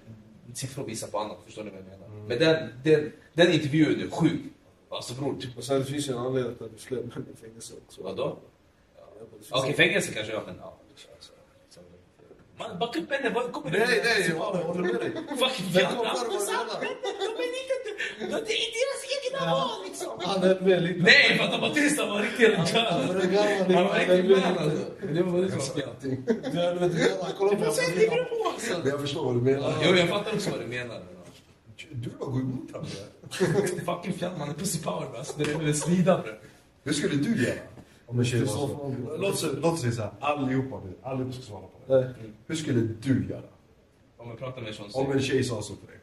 B: siffror visar på annat. Förstår ni vad jag menar? Men den, den, den intervjun är sjuk. Alltså bror, typ,
C: Och sen det finns ju en anledning att det är fler män i fängelse också.
B: vadå?
C: Ja, det finns-
B: Okej, fängelse kanske jag, men ja. alltså, liksom. Man, backa upp henne, vad kommer
C: Nej, nej, jag håller med dig.
B: Fucking
C: Jag
B: jävla...
C: kommer
B: De
C: bara vad du menar.
B: är inte... de- Det är deras egna val liksom!
C: Han är med lite.
B: Nej, fatta Mattias han var riktigt
C: Han
B: religiös!
C: är gammal.
B: Han var riktigt man
C: lite.
B: alltså. Det
C: Du är
B: var det som var fel.
C: lite gammal. Kolla på honom.
B: Sen ligger det på alltså.
A: Men jag förstår vad du menar.
B: Jo, jag fattar också vad du menar.
A: Du vill bara gå emot honom. ja.
B: Fucking fjant, man är pussy power bro. Alltså, det är väl en snida bro.
A: Hur skulle du göra? Om en tjej var
C: så
A: så.
C: fan.
A: Låt oss- Låt oss säga såhär, allihopa nu. Allihopa ska svara på det.
C: Nej.
A: Hur skulle du göra?
B: Om jag pratar med en sån
A: Om
B: så-
A: en tjej sa så till dig.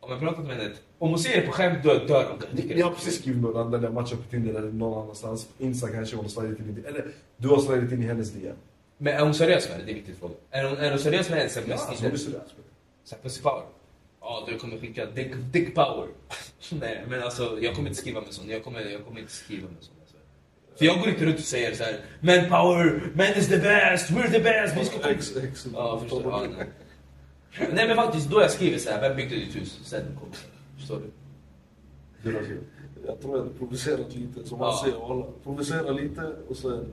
B: Om jag pratar med henne. Om hon ser det på skämt, då dör hon.
A: Ni, ni har precis skrivit med varandra, eller matchat på Tinder eller någon annanstans. På Insta kanske hon har slagit in i Eller du har slagit in i hennes DM.
B: Men är hon seriös med det? Det är en viktig fråga. Är hon, är hon seriös med henne?
A: Ja,
B: Sms?
A: alltså, hon är seriös med det.
B: Pussy power? Ja, ja, du kommer skicka dick, dick power. Nej, men alltså jag kommer inte skriva med sånt. Jag kommer, jag kommer inte skriva med sånt. Alltså. För jag går inte runt och säger så här, men power, men is the best, we're the best, vi ska komma.
C: Ex, ex.
B: Ja, förstår du? Ja, nej. nej, men faktiskt då jag skriver så här, vem byggde ditt hus? Sen kommer det. Förstår du?
A: Du då, Filip?
C: Jag tror jag hade provocerat lite, som han
B: Ja.
C: säger. Walla. Provocera lite och sen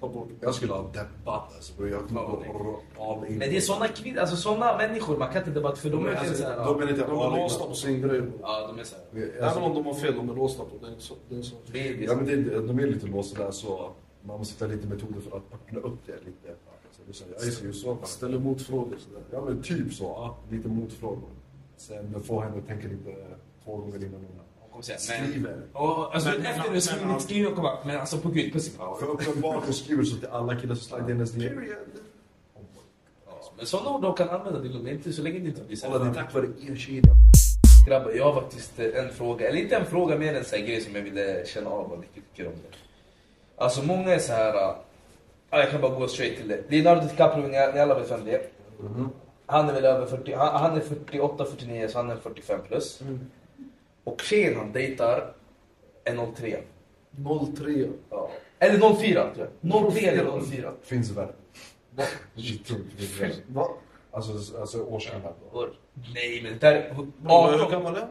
C: ta bort.
H: Jag skulle ha deppat alltså. bro. Jag kommer gå all in.
B: Mm. Men det är såna kvinnor, alltså såna människor man kan inte debattera för de är alltså, så här,
A: Då
B: ja,
A: blir det
C: De
A: lite
C: är
A: all
C: låsta på sin grej.
B: ja, de är så här.
A: Alltså,
C: Även om de har fel, de är låsta på den. så- den så.
B: babies.
A: Ja, men det, är- de är lite låsta där så man måste hitta lite metoder för att öppna upp det lite. Så det känner jag, jag ser ju så.
C: Ställer motfrågor sådär.
A: Ja men typ så, ja. lite motfrågor. Sen få henne att tänka lite två gånger innan
B: Hon kommer säga,
A: hon
B: men...
A: skriver.
B: Och, alltså,
H: Men-
B: men, efter
H: men-
B: det så
H: men-
B: men, skriver jag kommer men alltså på gud, pussy power.
A: För uppenbart hon skriver så till alla killar som slagit in hennes DM.
B: Ja, men sådana ord de kan använda till dem, det är inte så länge det inte blir så
A: Kolla det är
B: här.
A: tack vare er kedja.
B: Grabbar, jag har faktiskt eh, en fråga, eller inte en fråga, mer en sån här grej som jag ville känna av vad ni tycker om det. Alltså många är så här, ah, jag kan bara gå straight till det. Leonardo DiCaprio, ni ni alla vet vem det är. Han är väl över 40, han, han är 48, 49, så han är 45 plus. Och tjejen han dejtar är 03.
C: 03.
B: Ja. Eller 04 tror jag. 03 eller 04.
A: Finns det värre? Shit, tungt. finns det värre.
C: Va?
A: Alltså, alltså årsskillnad då.
B: År. Nej men där...
C: Bro, hur
B: 18.
C: gammal är han?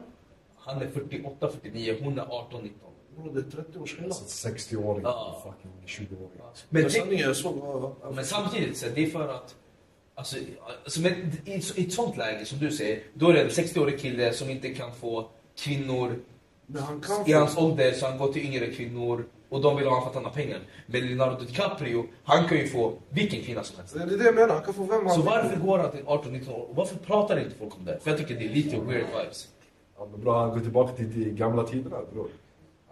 B: Han är 48, 49, hon är 18, 19.
C: Bro, Det är 30 års skillnad.
A: Alltså 60-åring
B: Ja.
A: och fucking 20-åring.
B: Men,
C: Men
B: tänk-
C: sanningen är så. ja, ja.
B: men samtidigt, så här, det är för att... Alltså, alltså, men i, ett, I ett sånt läge som du säger, då är det en 60-årig kille som inte kan få kvinnor
C: Men han kan
B: i
C: få-
B: hans ålder, så han går till yngre kvinnor och de vill ha honom för att han har pengar. Men Leonardo DiCaprio, han kan ju få vilken kvinna som helst.
H: Det är det jag menar. Han kan få vem han
B: Så
H: vill.
B: varför går han till 18-19 år? Och varför pratar inte folk om det? För jag tycker det är lite weird vibes.
A: Ja, men bra, han går tillbaka till de gamla tiderna bror.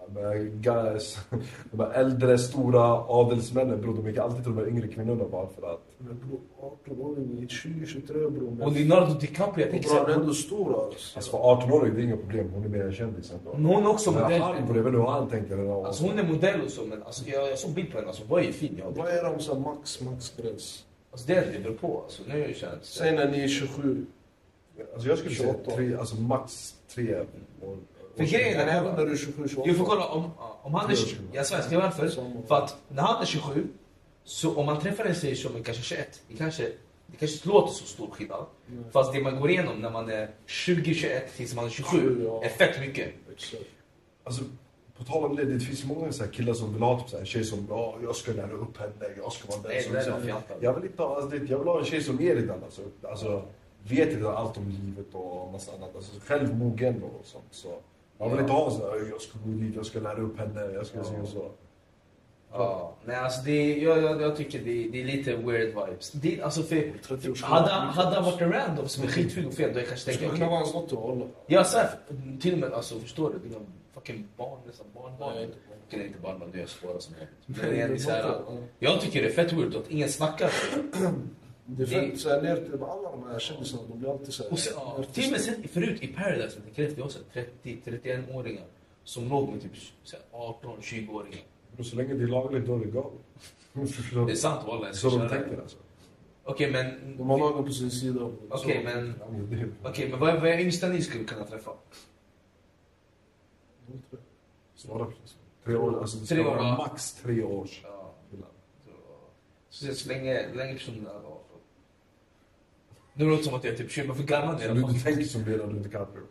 A: Ja, men guys, de här äldre, stora adelsmännen bror, de gick alltid till de här yngre kvinnorna bara för att...
C: Men bro, 18-åring i 20-23 bror.
B: Och
C: Men
B: Leonardo DiCaprio, jag tänker så
C: bro,
B: här,
C: han är ändå stor alltså.
A: Alltså för 18-åring, det är inga problem, hon är mer en kändis ändå.
B: Men Hon är också
A: Men
B: modell.
A: han, bror, jag vet inte hur han tänker. eller-
B: Alltså hon är modell och så, men alltså, jag, jag såg bild på henne. Alltså, hon var ju fin. Jag.
C: Vad är de så här max, maxgräns?
B: Alltså, det är det beror på. Alltså, nu känns det...
C: Säg när ni är 27.
A: Alltså jag skulle säga
C: 28.
A: tre, alltså max tre år.
B: För grejen
C: Men
B: är
C: även när
B: den
C: du är 27, 28.
B: Du får kolla om, om han är... Jag svenskar varför. För att när han är 27, så om man träffar en tjej som är kanske 21, det kanske, det kanske inte låter så stor skillnad. Fast det man går igenom när man är 20, 21 tills man är 27
C: Ja.
B: är fett mycket.
C: Exakt.
A: Alltså, på tal om det, det finns många så här killar som vill ha typ så här, en tjej som ja, jag ska lära upp henne, jag ska vara den
B: Nej,
A: som...
B: det är
A: så
B: de fjantar.
A: jag, vill inte, ha- alltså, det, jag vill ha en tjej som är redan alltså, alltså vet redan allt om livet och massa annat. Alltså självmogen och sånt. Så. Jag vill
B: Ja.
A: inte ha en sån här, jag ska gå dit, jag ska lära upp henne, jag ska
B: Ja.
A: se och så.
B: Ja, nej alltså det, jag, jag, jag tycker det, det är lite weird vibes. Det, alltså för,
C: 30 års
B: hade, han- hade han varit en random som är skitful och fel, då jag kanske tänker
C: Skulle
B: okej.
C: kunna vara hans dotter walla.
B: Jag sa till och med, alltså förstår du? Dina fucking barn, nästan barnbarn.
C: Nej,
B: Nej,
C: inte
B: inte, inte barnbarn, du är svåra som helst. Men det är så här, jag tycker det är fett weird att ingen snackar.
C: Det är
B: Det-
C: fett såhär ner till alla de här kändisarna, de blir alltid
B: Och sen,
C: såhär...
B: till och med sen, förut i Paradise, jag tänker efter, jag har 30-31-åringar som låg med typ 18-20-åringar.
A: Men så länge det är lagligt, då är det
B: Det är
A: galet.
B: sant walla. jag ska
A: så de
B: köra.
A: tänker alltså.
B: Okej men,
C: De har lagen på sin sida. Så-
B: okej men,
A: Ja, men det är-
B: okej men vad är, vad är yngsta ni skulle kunna träffa?
A: Svara precis. Tre år, alltså det ska
B: Tre år,
A: vara
B: va?
A: max tre års
B: Ja,
A: skillnad.
B: så, så, så länge, länge personen är 18. Nu låter det som att jag är typ 20, men för gammal är
A: Så
B: jag.
A: du, du tänker som Leonardo DiCaprio.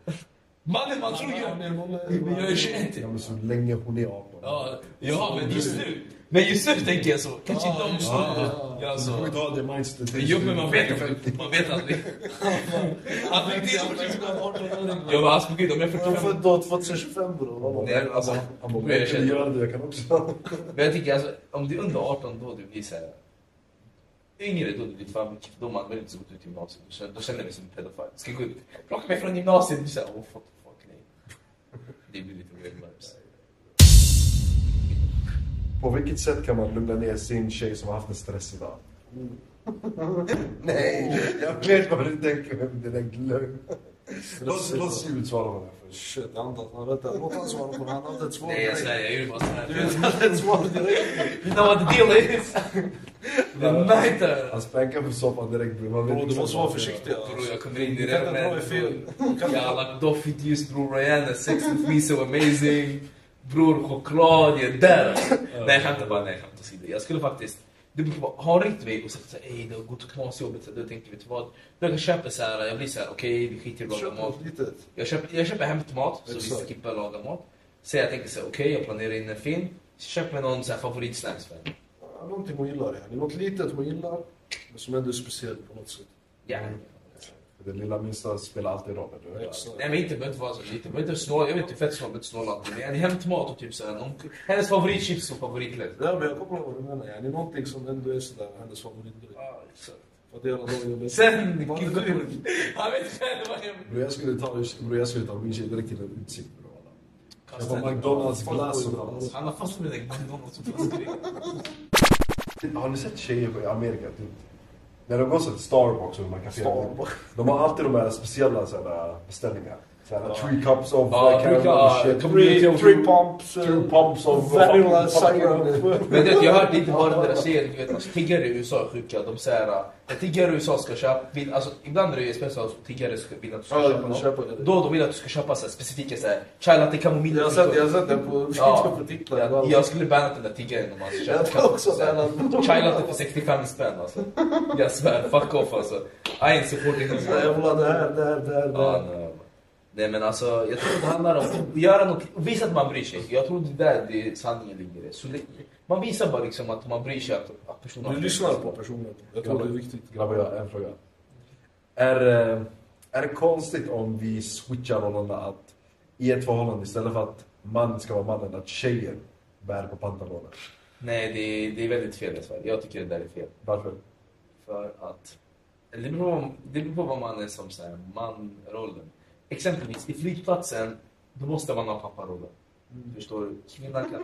B: Mannen man tror jag, jag är 21.
A: Ja, men så länge hon är 18.
B: Ja, ja men just nu. Men just nu tänker jag så. Kanske inte om så. Ja, alltså,
A: Du kommer
B: så.
A: inte ha det mindsetet.
B: Men jo, men man vet inte. Man vet aldrig. Han fick det som
C: 18-åring.
B: Jag bara, alltså på gud, om jag är
C: Jag är
B: 45.
C: född då 2025 bror.
B: Nej, alltså.
A: Han bara,
B: Nu är jag
A: jag kan
B: känd.
A: göra det, jag kan också.
B: Men jag tycker alltså, om du är under 18 då du blir såhär. Yngre då du blir fan mycket, då man väl inte så gått ut gymnasiet. Då känner- Då känner jag mig som en pedofil. Ska gå ut, plocka mig från gymnasiet. Du säger, oh fuck, fuck nej. Det blir lite weird vibes.
A: På vilket sätt kan man lugna ner sin tjej som har haft en stressig dag?
B: Mm.
A: Nej, jag vet vad du tänker med det där glöm. Låt låt Simon svara på det först.
C: Shit, jag antar att han rätt. Låt han svara på det. Han hade ett svar
B: Nej jag
C: direkt.
B: svär, jag gjorde bara
C: Du
B: såhär.
C: hade ett svar direkt.
B: You know what the deal is? The matter!
A: Han spankar för soffan direkt bror. Man vet
C: Bror, du
A: exakt
C: måste
A: vad
C: vara
A: han gör.
C: försiktig.
B: Bror
C: alltså.
B: jag kommer in i
C: Du
B: det
C: kan inte
B: här
C: dra i
B: med...
C: fel. Du kan inte-
B: Jag har doffigt ljus bror Rihanna, sex with me so amazing. Bror choklad, jag är där! Nej jag skämtar bara, nej jag skämtar åsido. Jag skulle faktiskt... Du brukar bara, har ringt mig och sagt såhär ey det har gått och knas jobbet. Så Då tänker jag, vet du vad? Då jag köper såhär, jag blir såhär okej vi skiter i att laga
C: Köp
B: mat.
C: något litet.
B: Jag köper, jag köper hämtmat, så
C: Exakt.
B: vi skippar laga mat. Så jag tänker såhär okej jag planerar in en film. Köp mig någon så här favoritsnacks för henne.
C: Ja, Någonting hon gillar. yani. Något litet hon gillar. Men som ändå är speciellt på något sätt.
B: Ja.
A: Det lilla minsta spelar alltid roll. eller hur?
C: Exakt.
B: Nej men inte behöver inte vara så lite, behöver inte snåla, jag vet inte fett snål, behöver inte snåla alltid. Men hämtmat och typ såhär, någon, hennes favoritchips och favoritlök.
C: Ja, men jag kommer ihåg vad du menar. yani. Någonting som ändå är sådär hennes favoritgrej.
B: Ja, exakt.
C: För att hela dagen jobbar.
B: Sen,
C: Vad
B: gud,
C: hade du gjort?
B: han vet själv vad jag
A: Bror jag skulle ta, bror, jag skulle ta min tjej direkt till en utsikt bror. Jag
B: kastar.
A: får McDonalds glass och allt.
B: Han har fast med den McDonalds och flaskor.
A: Har ni sett tjejer i Amerika typ? När de går så till Starbucks och man kan se dem.
C: Starbucks.
A: De har alltid de här speciella så här, beställningar. Så här, three cups of
B: Ja,
A: uh, caramel
B: brukar-
A: shit.
C: Three, three pumps. eh,
A: Two pumps of
C: Vanilla
A: fucking-
C: syrup.
B: Men det, jag hörde inte bara den där serien, du vet, alltså, tiggare i USA är sjuka. De säger, när tiggare i USA ska köpa, vill, alltså, ibland är det ju speciellt att tiggare ska- vill att du ska
C: Ja,
B: köpa
C: de
B: något.
C: köper det.
B: Då de vill att du ska köpa så här, specifika så här, chai latte kamomill.
C: Jag har sett- jag har sett den på
B: Ja.
C: på TikTok.
B: Jag, jag skulle bannat den där tiggaren om han
C: Jag
B: köpte
C: tror också det.
B: Chailatte för 65 typ spänn alltså. Jag svär, fuck off alltså. I ain't supporting him. Ah,
C: Ja, Jag vill ha det här, det här, det här. det
B: Ja,
C: här.
B: nej. nej men alltså, jag tror det handlar om att göra något, visa att man bryr sig. Jag tror det där det sanningen ligger. i. Så det, man visar bara liksom att man bryr sig att, att personen...
C: Du lyssnar på personen. Jag tror det är viktigt.
A: Grabbar, jag har en fråga. Är, eh, är det konstigt om vi switchar rollerna att i ett förhållande istället för att mannen ska vara mannen, att tjejen bär på pantaloner?
B: Nej, det, är- det är väldigt fel i Sverige. Jag tycker det där är fel.
A: Varför?
B: För att... eller Det beror på, det beror på vad man är som så här, manrollen. Exempelvis i flygplatsen, då måste man ha papparollen.
C: Mm.
B: Förstår du? Kvinnan kan...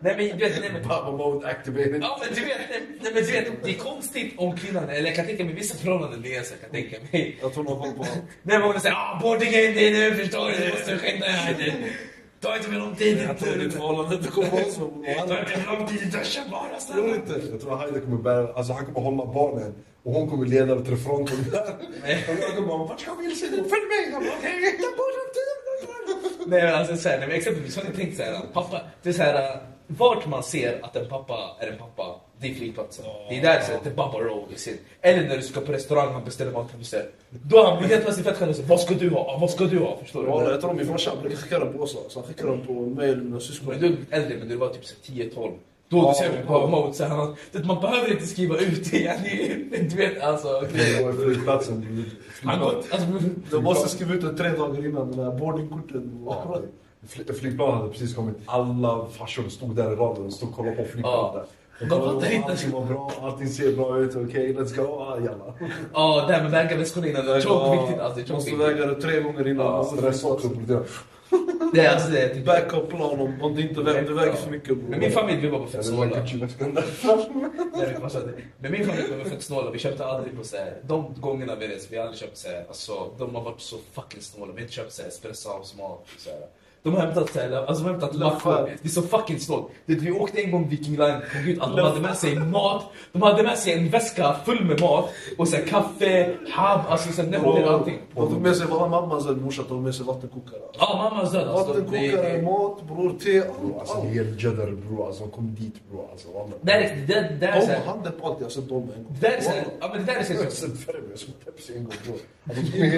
B: Nej men du vet, nej, men,
A: Power mode activated.
B: ja, men, du vet, nej, nej, men du vet, det är konstigt om kvinnan, eller jag kan tänka mig vissa förhållanden det är så jag kan tänka mig.
C: Jag tror hon har koll på allt.
B: När man säger ah, boardingen det är nu, förstår du, du måste skynda dig. Ta inte för lång tid.
C: Jag tror ditt förhållande inte kommer vara så. bror.
B: Ta inte för lång tid, duscha bara
C: Tror
B: snälla.
C: inte.
A: Jag tror Haida kommer bära, alltså han kommer hålla barnen och hon kommer leda till fronten där. Och jag kommer bara, vart ska Wilson? Följ mig! Han bara, "Okej."
B: Nej men alltså såhär, nej, men exempelvis har ni tänkt såhär, pappa, det är såhär, vart man ser att en pappa är en pappa, det är flygplatsen. Det är där så att en pappa roll i sin. Eller när du ska på restaurang och beställer mat, kan du säga, då har han blivit helt plötsligt fett generös, vad ska du ha? Ja, Vad ska du ha? Förstår du?
C: Walla, Jag tror min farsa han brukar skicka dem på oss. alltså. Han skickar dem på mail med mina syskon.
B: Men du är äldre, men du var typ så här 10-12. Då ser vi på mode såhär, han- du vet, man behöver inte skriva ut det, ja, det. är- Du vet alltså.
A: Det var flygplatsen.
B: Han går, alltså,
C: Du måste skriva ut det tre dagar innan, det där boardingkortet.
A: Ja, fly- Flygplan hade precis kommit. Alla farsor stod där i raden och stod och
C: Oh.
A: kollade på flygplanet. där.
B: De
A: De
B: fattar
A: kollade
B: inte.
A: om allting var bra, allting ser bra ut. Okej, let's go. Ah, jalla.
B: ja, det här med väga väskorna innan, det är tjockt viktigt. Alltså, det är
C: Du måste
B: tjockt
C: väga det tre gånger innan.
A: Ah,
C: Alltså,
A: Stress också. på det.
B: Det är alltså det. är typ-
C: Backup-plan om om det inte väger, det
A: Ah.
C: väger för mycket bror.
B: Men min familj, vi var på
A: Eller den där
B: fettsnåla.
A: Gucci-väskan där.
B: Nej, vi passade. Men min familj var fett snåla. Vi köpte aldrig på så här, de gångerna vi reste, vi har aldrig köpt så här, alltså de har varit så fucking snåla. Vi har inte köpt så här espressohavsmat och så här. De har hämtat så här, alltså de har hämtat mackor. Det är så fucking snålt. Det- Vi åkte en gång Viking Line, på gud, att de hade med sig mat. De hade med sig en väska full med mat och så här, kaffe, hab, alltså så här, nämnde allting.
C: De tog med sig, vad har mamma sen morsa tog med sig vattenkokare. alltså.
B: Ja, mammas död alltså. Det-
C: Vattenkokare,
B: det-
C: mat, bror, te,
A: Bro,
C: allt.
A: Alltså
C: allt.
A: helt judder bro. Alltså kom dit bro. Alltså, wallah.
B: Det är- det är det är så
C: De
B: här.
C: hade på allt, jag har sett dem en gång.
B: Det där är så här, ja men det där är så
A: Jag har
B: här.
A: inte sett färre bro. Jag såg Pepsi en gång bro.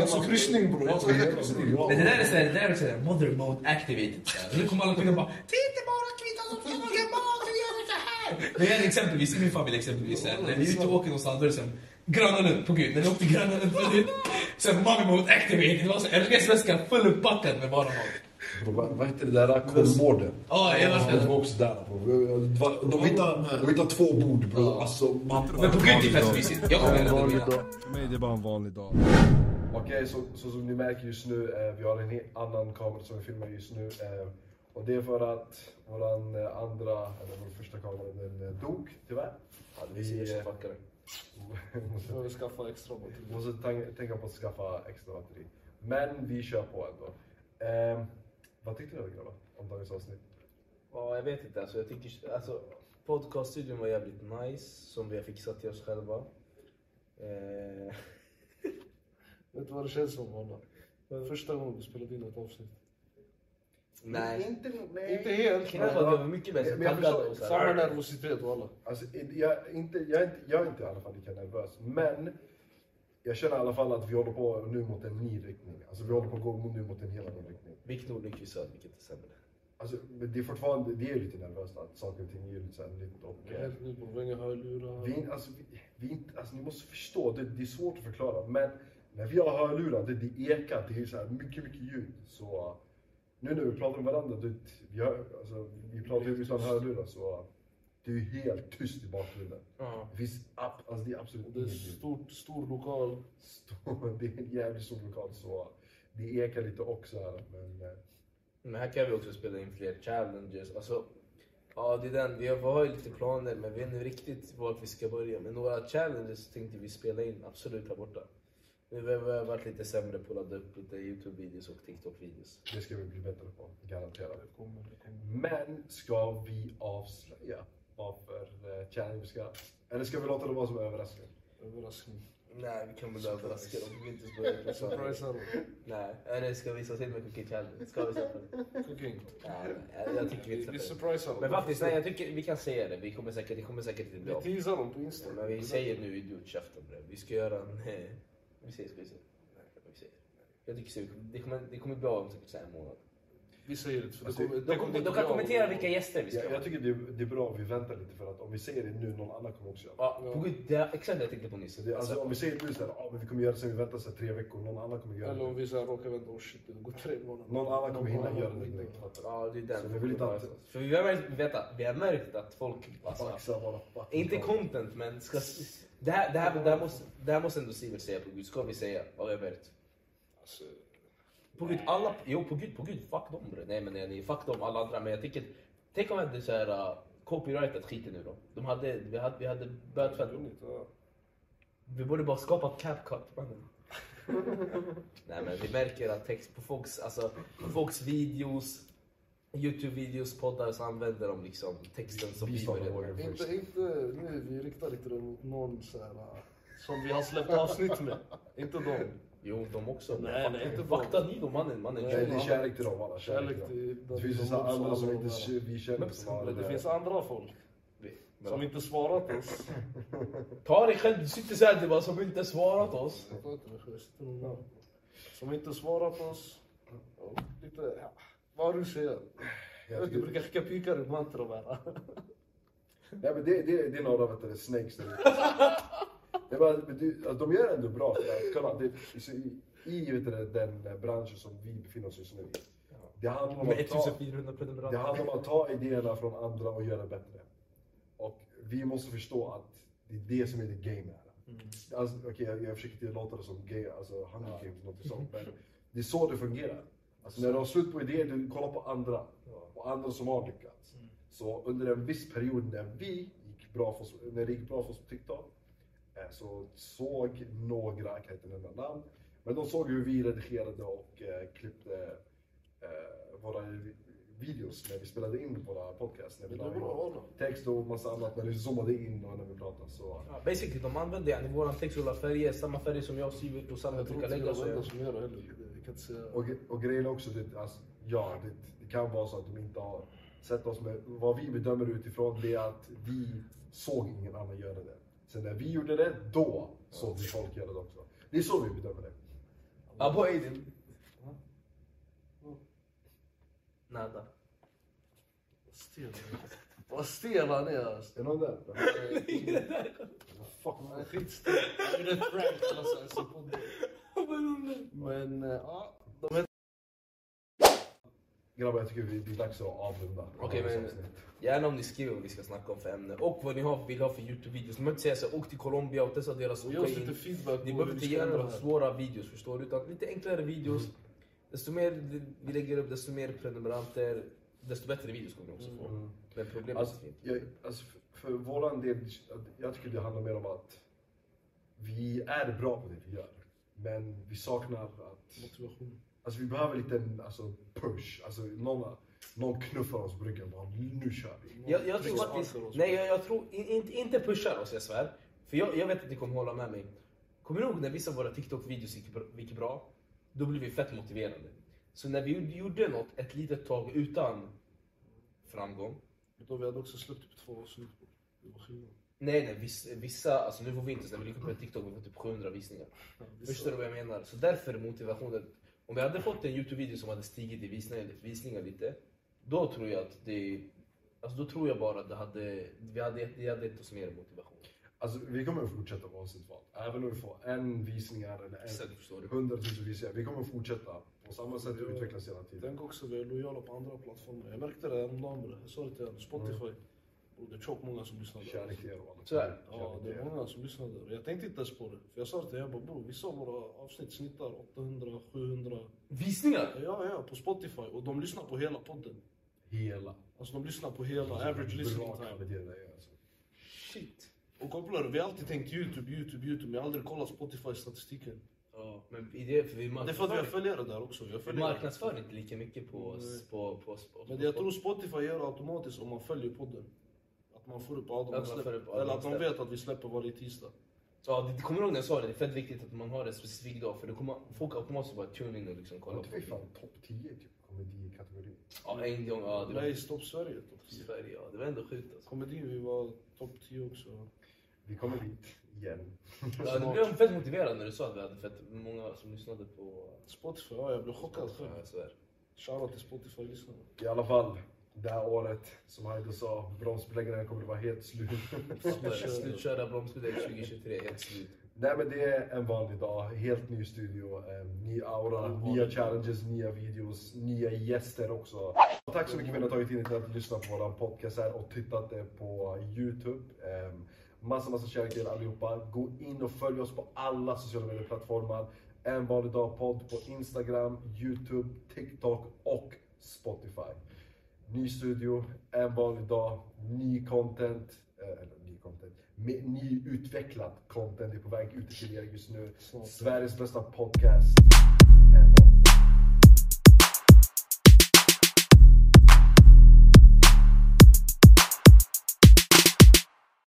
C: Alltså kryssning bror. Jag tror det är kryssning.
B: Men det där är såhär, det där är såhär mother mode activated. såhär. Nu kommer alla kvinnor bara Titta bara kvitton som ska laga mat, vi gör det så här! Men jag är exempelvis, i min familj exempelvis, såhär, när vi är ute och åker någonstans då är det såhär Gröna Lund, på gud, när vi åkte Gröna Lund förut. Såhär mommy mode activated, det var så här, en resväska fullpackad med bara mat.
A: Bro, vad- Vad hette det där? Kolmården.
B: Ja, jag var
A: Det
B: där.
A: var också där bro. Det var- De hittade, de hittade två bord bro. Alltså man...
B: Men på gud det är fett mysigt. Jag kommer ändå mina.
I: För mig är det bara en vanlig dag.
A: Okej, så, så som ni märker just nu, eh, vi har en he- annan kamera som vi filmar just nu. Eh, och det är för att våran eh, andra, eller vår första kamera, den eh, dog tyvärr. Vi eh, måste,
C: Jag vill skaffa extra batteri.
A: måste tan- tänka på att skaffa extra batteri. Men vi kör på ändå. Ehm, vad tyckte ni grabbar om dagens avsnitt?
F: Ja, jag vet inte. Alltså, jag tycker, alltså, podcaststudion var jävligt nice, som vi har fixat till oss själva. Eh,
C: Vet du vad det känns som Anna? Första gången vi spelade in ett avsnitt.
F: nej.
E: Inte,
C: Inte
E: nej.
C: helt,
F: Jag
C: men
F: var mycket bättre
A: Men jag
F: taggad
A: förstår.
F: och så
C: samma
F: här.
C: nervositet och alla.
A: Alltså, i- jag, är inte, jag, är inte, jag är inte i alla fall lika nervös, men jag känner i alla fall att vi håller på nu mot en ny riktning. Alltså vi håller på att gå nu mot en helt annan riktning.
F: Vilket ord lyckades jag, vilket är sämre.
A: Alltså men det är fortfarande, det är lite nervöst att saker och ting är lite såhär nytt och...
C: Jag är helt ny på Vänga hörlurar.
A: Vi, är inte- alltså, vi, vi, är inte- alltså, ni måste förstå, det, det är svårt att förklara. Men när vi har hörlurar, det, det ekar, det är så här mycket, mycket ljud. Så uh, nu när vi pratar med varandra, det, vi, hör, alltså, vi pratar ju utan hörlurar, så uh, det är ju helt tyst i bakgrunden.
F: Ja.
A: Det finns ab- alltså, det är absolut
C: Det är
A: inget ljud.
C: stort, stor lokal.
A: Stor- Det är en jävligt stor lokal, så uh, det ekar lite också här. Men uh,
F: Men här kan vi också spela in fler challenges. Alltså, ja, det är den. Vi har ju lite planer, men vi vet inte riktigt vart vi ska börja. Men några challenges tänkte vi spela in absolut här borta. Nu har vi varit lite sämre på att ladda upp lite Youtube-videos och TikTok-videos.
A: det ska vi bli bättre på, garanterat.
C: Det kommer, det kommer.
A: Men ska vi avslöja vad för eh, challenge vi ska... Eller ska vi låta det vara som en överraskning?
C: Överraskning.
F: Nej, vi kan väl överraska dem om vi inte ens börjar prata.
C: Surprise Arrow.
F: Nej, eller ska vi visa till med Cookie Challenge? Ska vi säga på det?
C: Cooking.
F: Nej, jag- jag tycker vi
C: Vi
F: inte
C: vi
F: sätter det.
C: surprise Arrow.
F: Men faktiskt, nej, jag tycker vi kan säga det. Vi kommer säkert, det kommer säkert inte bli
C: Vi
F: av.
C: teasar dem på Insta.
F: Men vi säger nu idiotkäften bre. Vi ska göra en... eh, Vi säger, ska vi säga? Vi säger. Jag tycker så. Det kommer, det kommer bli av om säkert så här en månad.
C: Vi säger det. För det
A: Alltså,
C: kommer,
F: De,
C: det
F: kom,
C: kommer
F: de
C: inte
F: kan
C: bli av.
F: kommentera vilka gäster vi ska
A: Jag,
F: ha.
A: jag tycker det är, det är bra om vi väntar lite för att om vi säger det nu, någon annan kommer också göra det.
F: Ja, på gud, det är exakt det jag tänkte på nyss.
A: Så det. Alltså,
F: Alltså,
A: om vi säger nu såhär, ah, men vi kommer göra det sen vi väntar så här, tre veckor, någon annan kommer göra
C: Eller om
A: det.
C: vi så här råkar vänta, oh shit, det går tre månader.
A: Någon annan kommer hinna
C: annan
A: göra det
C: hinner.
A: direkt. fattar du?
F: ja, det är den.
A: Så vi vill inte att-
F: För vi har märkt, veta, vi har märkt att folk...
A: Ah,
F: Alltså,
A: Baxa våra fucking
F: inte
A: tag.
F: content, men ska... Det här, det här, det här, måste, det här måste ändå Sivert säga på gud. Ska vi säga vad vi har märkt?
C: Alltså,
F: På gud, alla... Jo, på gud, på gud, fuck dem bre. Nej men nej, nej, fuck dem, alla andra. Men jag tänker, tänk om jag hade såhär uh, copyrightat skiten nu då. De hade, vi hade, vi hade börjat
C: det är
F: för
C: inte, ja.
F: Vi borde bara skapa CapCut mannen. nej men vi märker att text på folks, alltså, på folks videos, Youtube-videos, poddar så använder de liksom texten som
A: Vi
F: vi
A: startar
F: började med.
A: vågen först.
C: Inte, inte nu, vi riktar inte det mot någon så här, äh, som vi har släppt avsnitt med. inte dem.
F: Jo, de också.
C: Nej,
F: Fuck,
C: nej, inte
F: Vakta ni dem mannen, mannen.
A: Nej, det är
F: Kör.
A: kärlek till dem alla.
C: Kärlek till
A: dem. Det finns ju så här andra som inte k- vi känner som har
C: Men det finns andra folk som inte svarat oss.
F: Ta dig själv, du sitter såhär du bara som inte svarat oss.
C: Jag tar inte det, jag sitter någon annan. Som inte svarat oss. Ja, Lite, ja. vad har du att säga? Jag vet, du brukar skicka pikar i mantra bara.
A: Nej men det, det, det är några vet du, snakes där ute. Jag bara, men du, alltså, de gör ändå bra för det här. Kolla, det, så i, i vet du, den eh, branschen som vi befinner oss just nu i. Det handlar, om att ta, det handlar om att ta idéerna från andra och göra bättre. Och vi måste förstå att det är det som är det game här. Alltså, okej, jag, jag försöker inte låta det som game, alltså hunger games någonting sånt. Men det är så det fungerar. Alltså när du har slut på idéer, du kollar på andra. Och andra som har lyckats. Så under en viss period när vi gick bra för oss, när det gick bra för oss på TikTok. eh, Så såg några, jag kan inte nämna namn. Men de såg hur vi redigerade och eh, klippte eh, våra videos när vi spelade in våra podcast. När vi
C: Men det
A: la
C: är bra,
A: in text och massa annat när vi zoomade in och när vi pratade. Så eh,
F: Ja, basically, de använder yani våran text och alla färger, samma färger som jag och Sivert och Sanna
C: Jag tror
F: brukar
C: inte det
F: lägga.
C: är
F: Så
C: de
F: jag,
C: som gör det heller. Jag kan inte säga.
A: Och, och grejen är också, det, alltså, ja, det, det kan vara så att de inte har sett oss med, vad vi bedömer utifrån det är att vi såg ingen annan göra det. Sen när vi gjorde det, då såg vi folk göra det också. Det är så vi bedömer det.
F: Abo Aiden. Nada.
C: Stel. Vad stel han är alltså.
A: Är någon där?
C: Fuck, man är skitstel. Jag gjorde ett prank alltså. jag såg på det. Men eh, ja, de heter...
A: Grabbar, jag tycker vi, det är dags att avrunda.
F: Okej, men gärna om ni skriver vad vi ska snacka om för ämne och vad ni har, vill ha för Youtube-videos. Ni behöver inte säga så här, åk till Colombia och testa deras
C: Och ge oss lite feedback
F: Ni
C: på
F: behöver
C: hur vi
F: inte
C: ska
F: göra
C: ändra
F: några
C: här. Mm.
F: svåra videos förstår du, utan lite enklare videos. Desto mer vi lägger upp, desto mer prenumeranter, desto bättre videos kommer ni också få. Men problemet
A: Alltså,
F: är
A: jag, alltså, för, för våran del, jag tycker det handlar mer om att vi är bra på det vi gör. Men vi saknar att...
C: Motivation.
A: Alltså vi behöver lite en alltså, push. Alltså någon, någon knuffar oss på ryggen bara nu kör vi.
F: Jag, jag tror
C: Liksom
F: faktiskt...
C: sparkar oss.
F: Nej, jag, jag tror in, inte, inte pushar oss, jag svär. För jag, jag vet att ni kommer hålla med mig. Kommer ni ihåg när vissa av våra TikTok-videos gick, bra- gick bra? Då blev vi fett motiverade. Så när vi gjorde- gjorde något ett litet tag utan framgång.
C: Utan vi hade också släppt typ två avsnitt. Det var skillnad.
F: Nej, nej, vissa, vissa alltså nu får vi inte, så när vi gick upp på TikTok vi får typ 700 visningar. Förstår du vad jag menar? Så därför är motivationen... Om vi hade fått en YouTube-video som hade stigit i visningar, visningar lite, då tror jag att det... Alltså då tror jag bara att det hade, vi hade, det hade gett oss mer motivation.
A: Alltså vi kommer att fortsätta vara sitt val. Även om vi får en visningar eller
F: Sen
A: en
F: förstår du.
A: hundratusen visningar. Vi kommer att fortsätta på samma sätt och utvecklas hela tiden.
C: Tänk också, vi är lojala på andra plattformar. Jag märkte det häromdagen bre. Jag sa det till er, Spotify. Bro, det är tjockt många som lyssnar där.
A: Kärlek till er och alla.
F: Så här.
C: Ja,
A: Kärlek
C: det
A: till
C: är
A: er.
C: många som lyssnar där. Jag tänkte inte ens på det. För jag sa det till er, jag bara bror, vissa av våra avsnitt snittar 800, 700.
F: Visningar?
C: Ja, ja, på Spotify. Och de lyssnar på hela podden.
A: Hela.
C: Alltså de lyssnar på hela average listening
A: Bra
C: time.
A: kvalitet det är alltså.
F: Shit.
C: Och kopplar du, vi har alltid tänkt YouTube, YouTube, YouTube. Men jag har aldrig kollat Spotify-statistiken.
F: Ja, men i det, för vi
C: Det är för att vi har
F: marknadsför,
C: följare där också. Jag
F: vi
C: följer.
F: marknadsför inte lika mycket på... oss- på, på, på, på
C: Men jag tror Spotify gör det automatiskt om man följer podden. Att man får upp Adam
F: man
C: och
F: får
C: släpper.
F: upp Adam
C: Eller att de
F: släpper.
C: vet att vi släpper varje tisdag.
F: Ja, det, kommer du ihåg när jag sa det? Det är fett viktigt att man har en specifik dag, för då kommer folk automatiskt bara tune in och liksom kolla
A: Jag
F: på
A: tror vi
F: det.
A: fan topp 10 typ komedikategori.
F: Ja, en gång. Ja, det var
C: Nej, stopp Sverige. Topp 10.
F: Sverige, ja. Det var ändå sjukt alltså.
C: Komedi, vi var topp 10 också.
A: Vi kommer dit igen.
F: Ja, det blev fett motiverad när du sa att vi hade fett många som lyssnade på...
C: Spotify, ja jag blev chockad själv.
F: Ja, så är det.
C: Shoutout till Spotify-lyssnarna.
A: I alla fall, det här året som Haider sa, bromsbeläggningen kommer att vara helt slut.
F: Slutkörda- Slutkörda bromsmodell 2023, helt slut.
A: Nej men det är en vanlig dag, helt ny studio, eh, ny aura, nya challenges, nya videos, nya gäster också. Tack så mycket för att ni har tagit in er till att lyssna på våran podcast här och tittat eh, på Youtube. Eh, massa, massa kärlek till er allihopa. Gå in och följ oss på alla sociala medieplattformar. En vanlig dag podd på Instagram, Youtube, TikTok och Spotify. Ny studio, en vanlig dag, ny content. eh, Eller ny content. med Ny utvecklad content är på väg ut till er just nu. Sveriges bästa podcast. En vanlig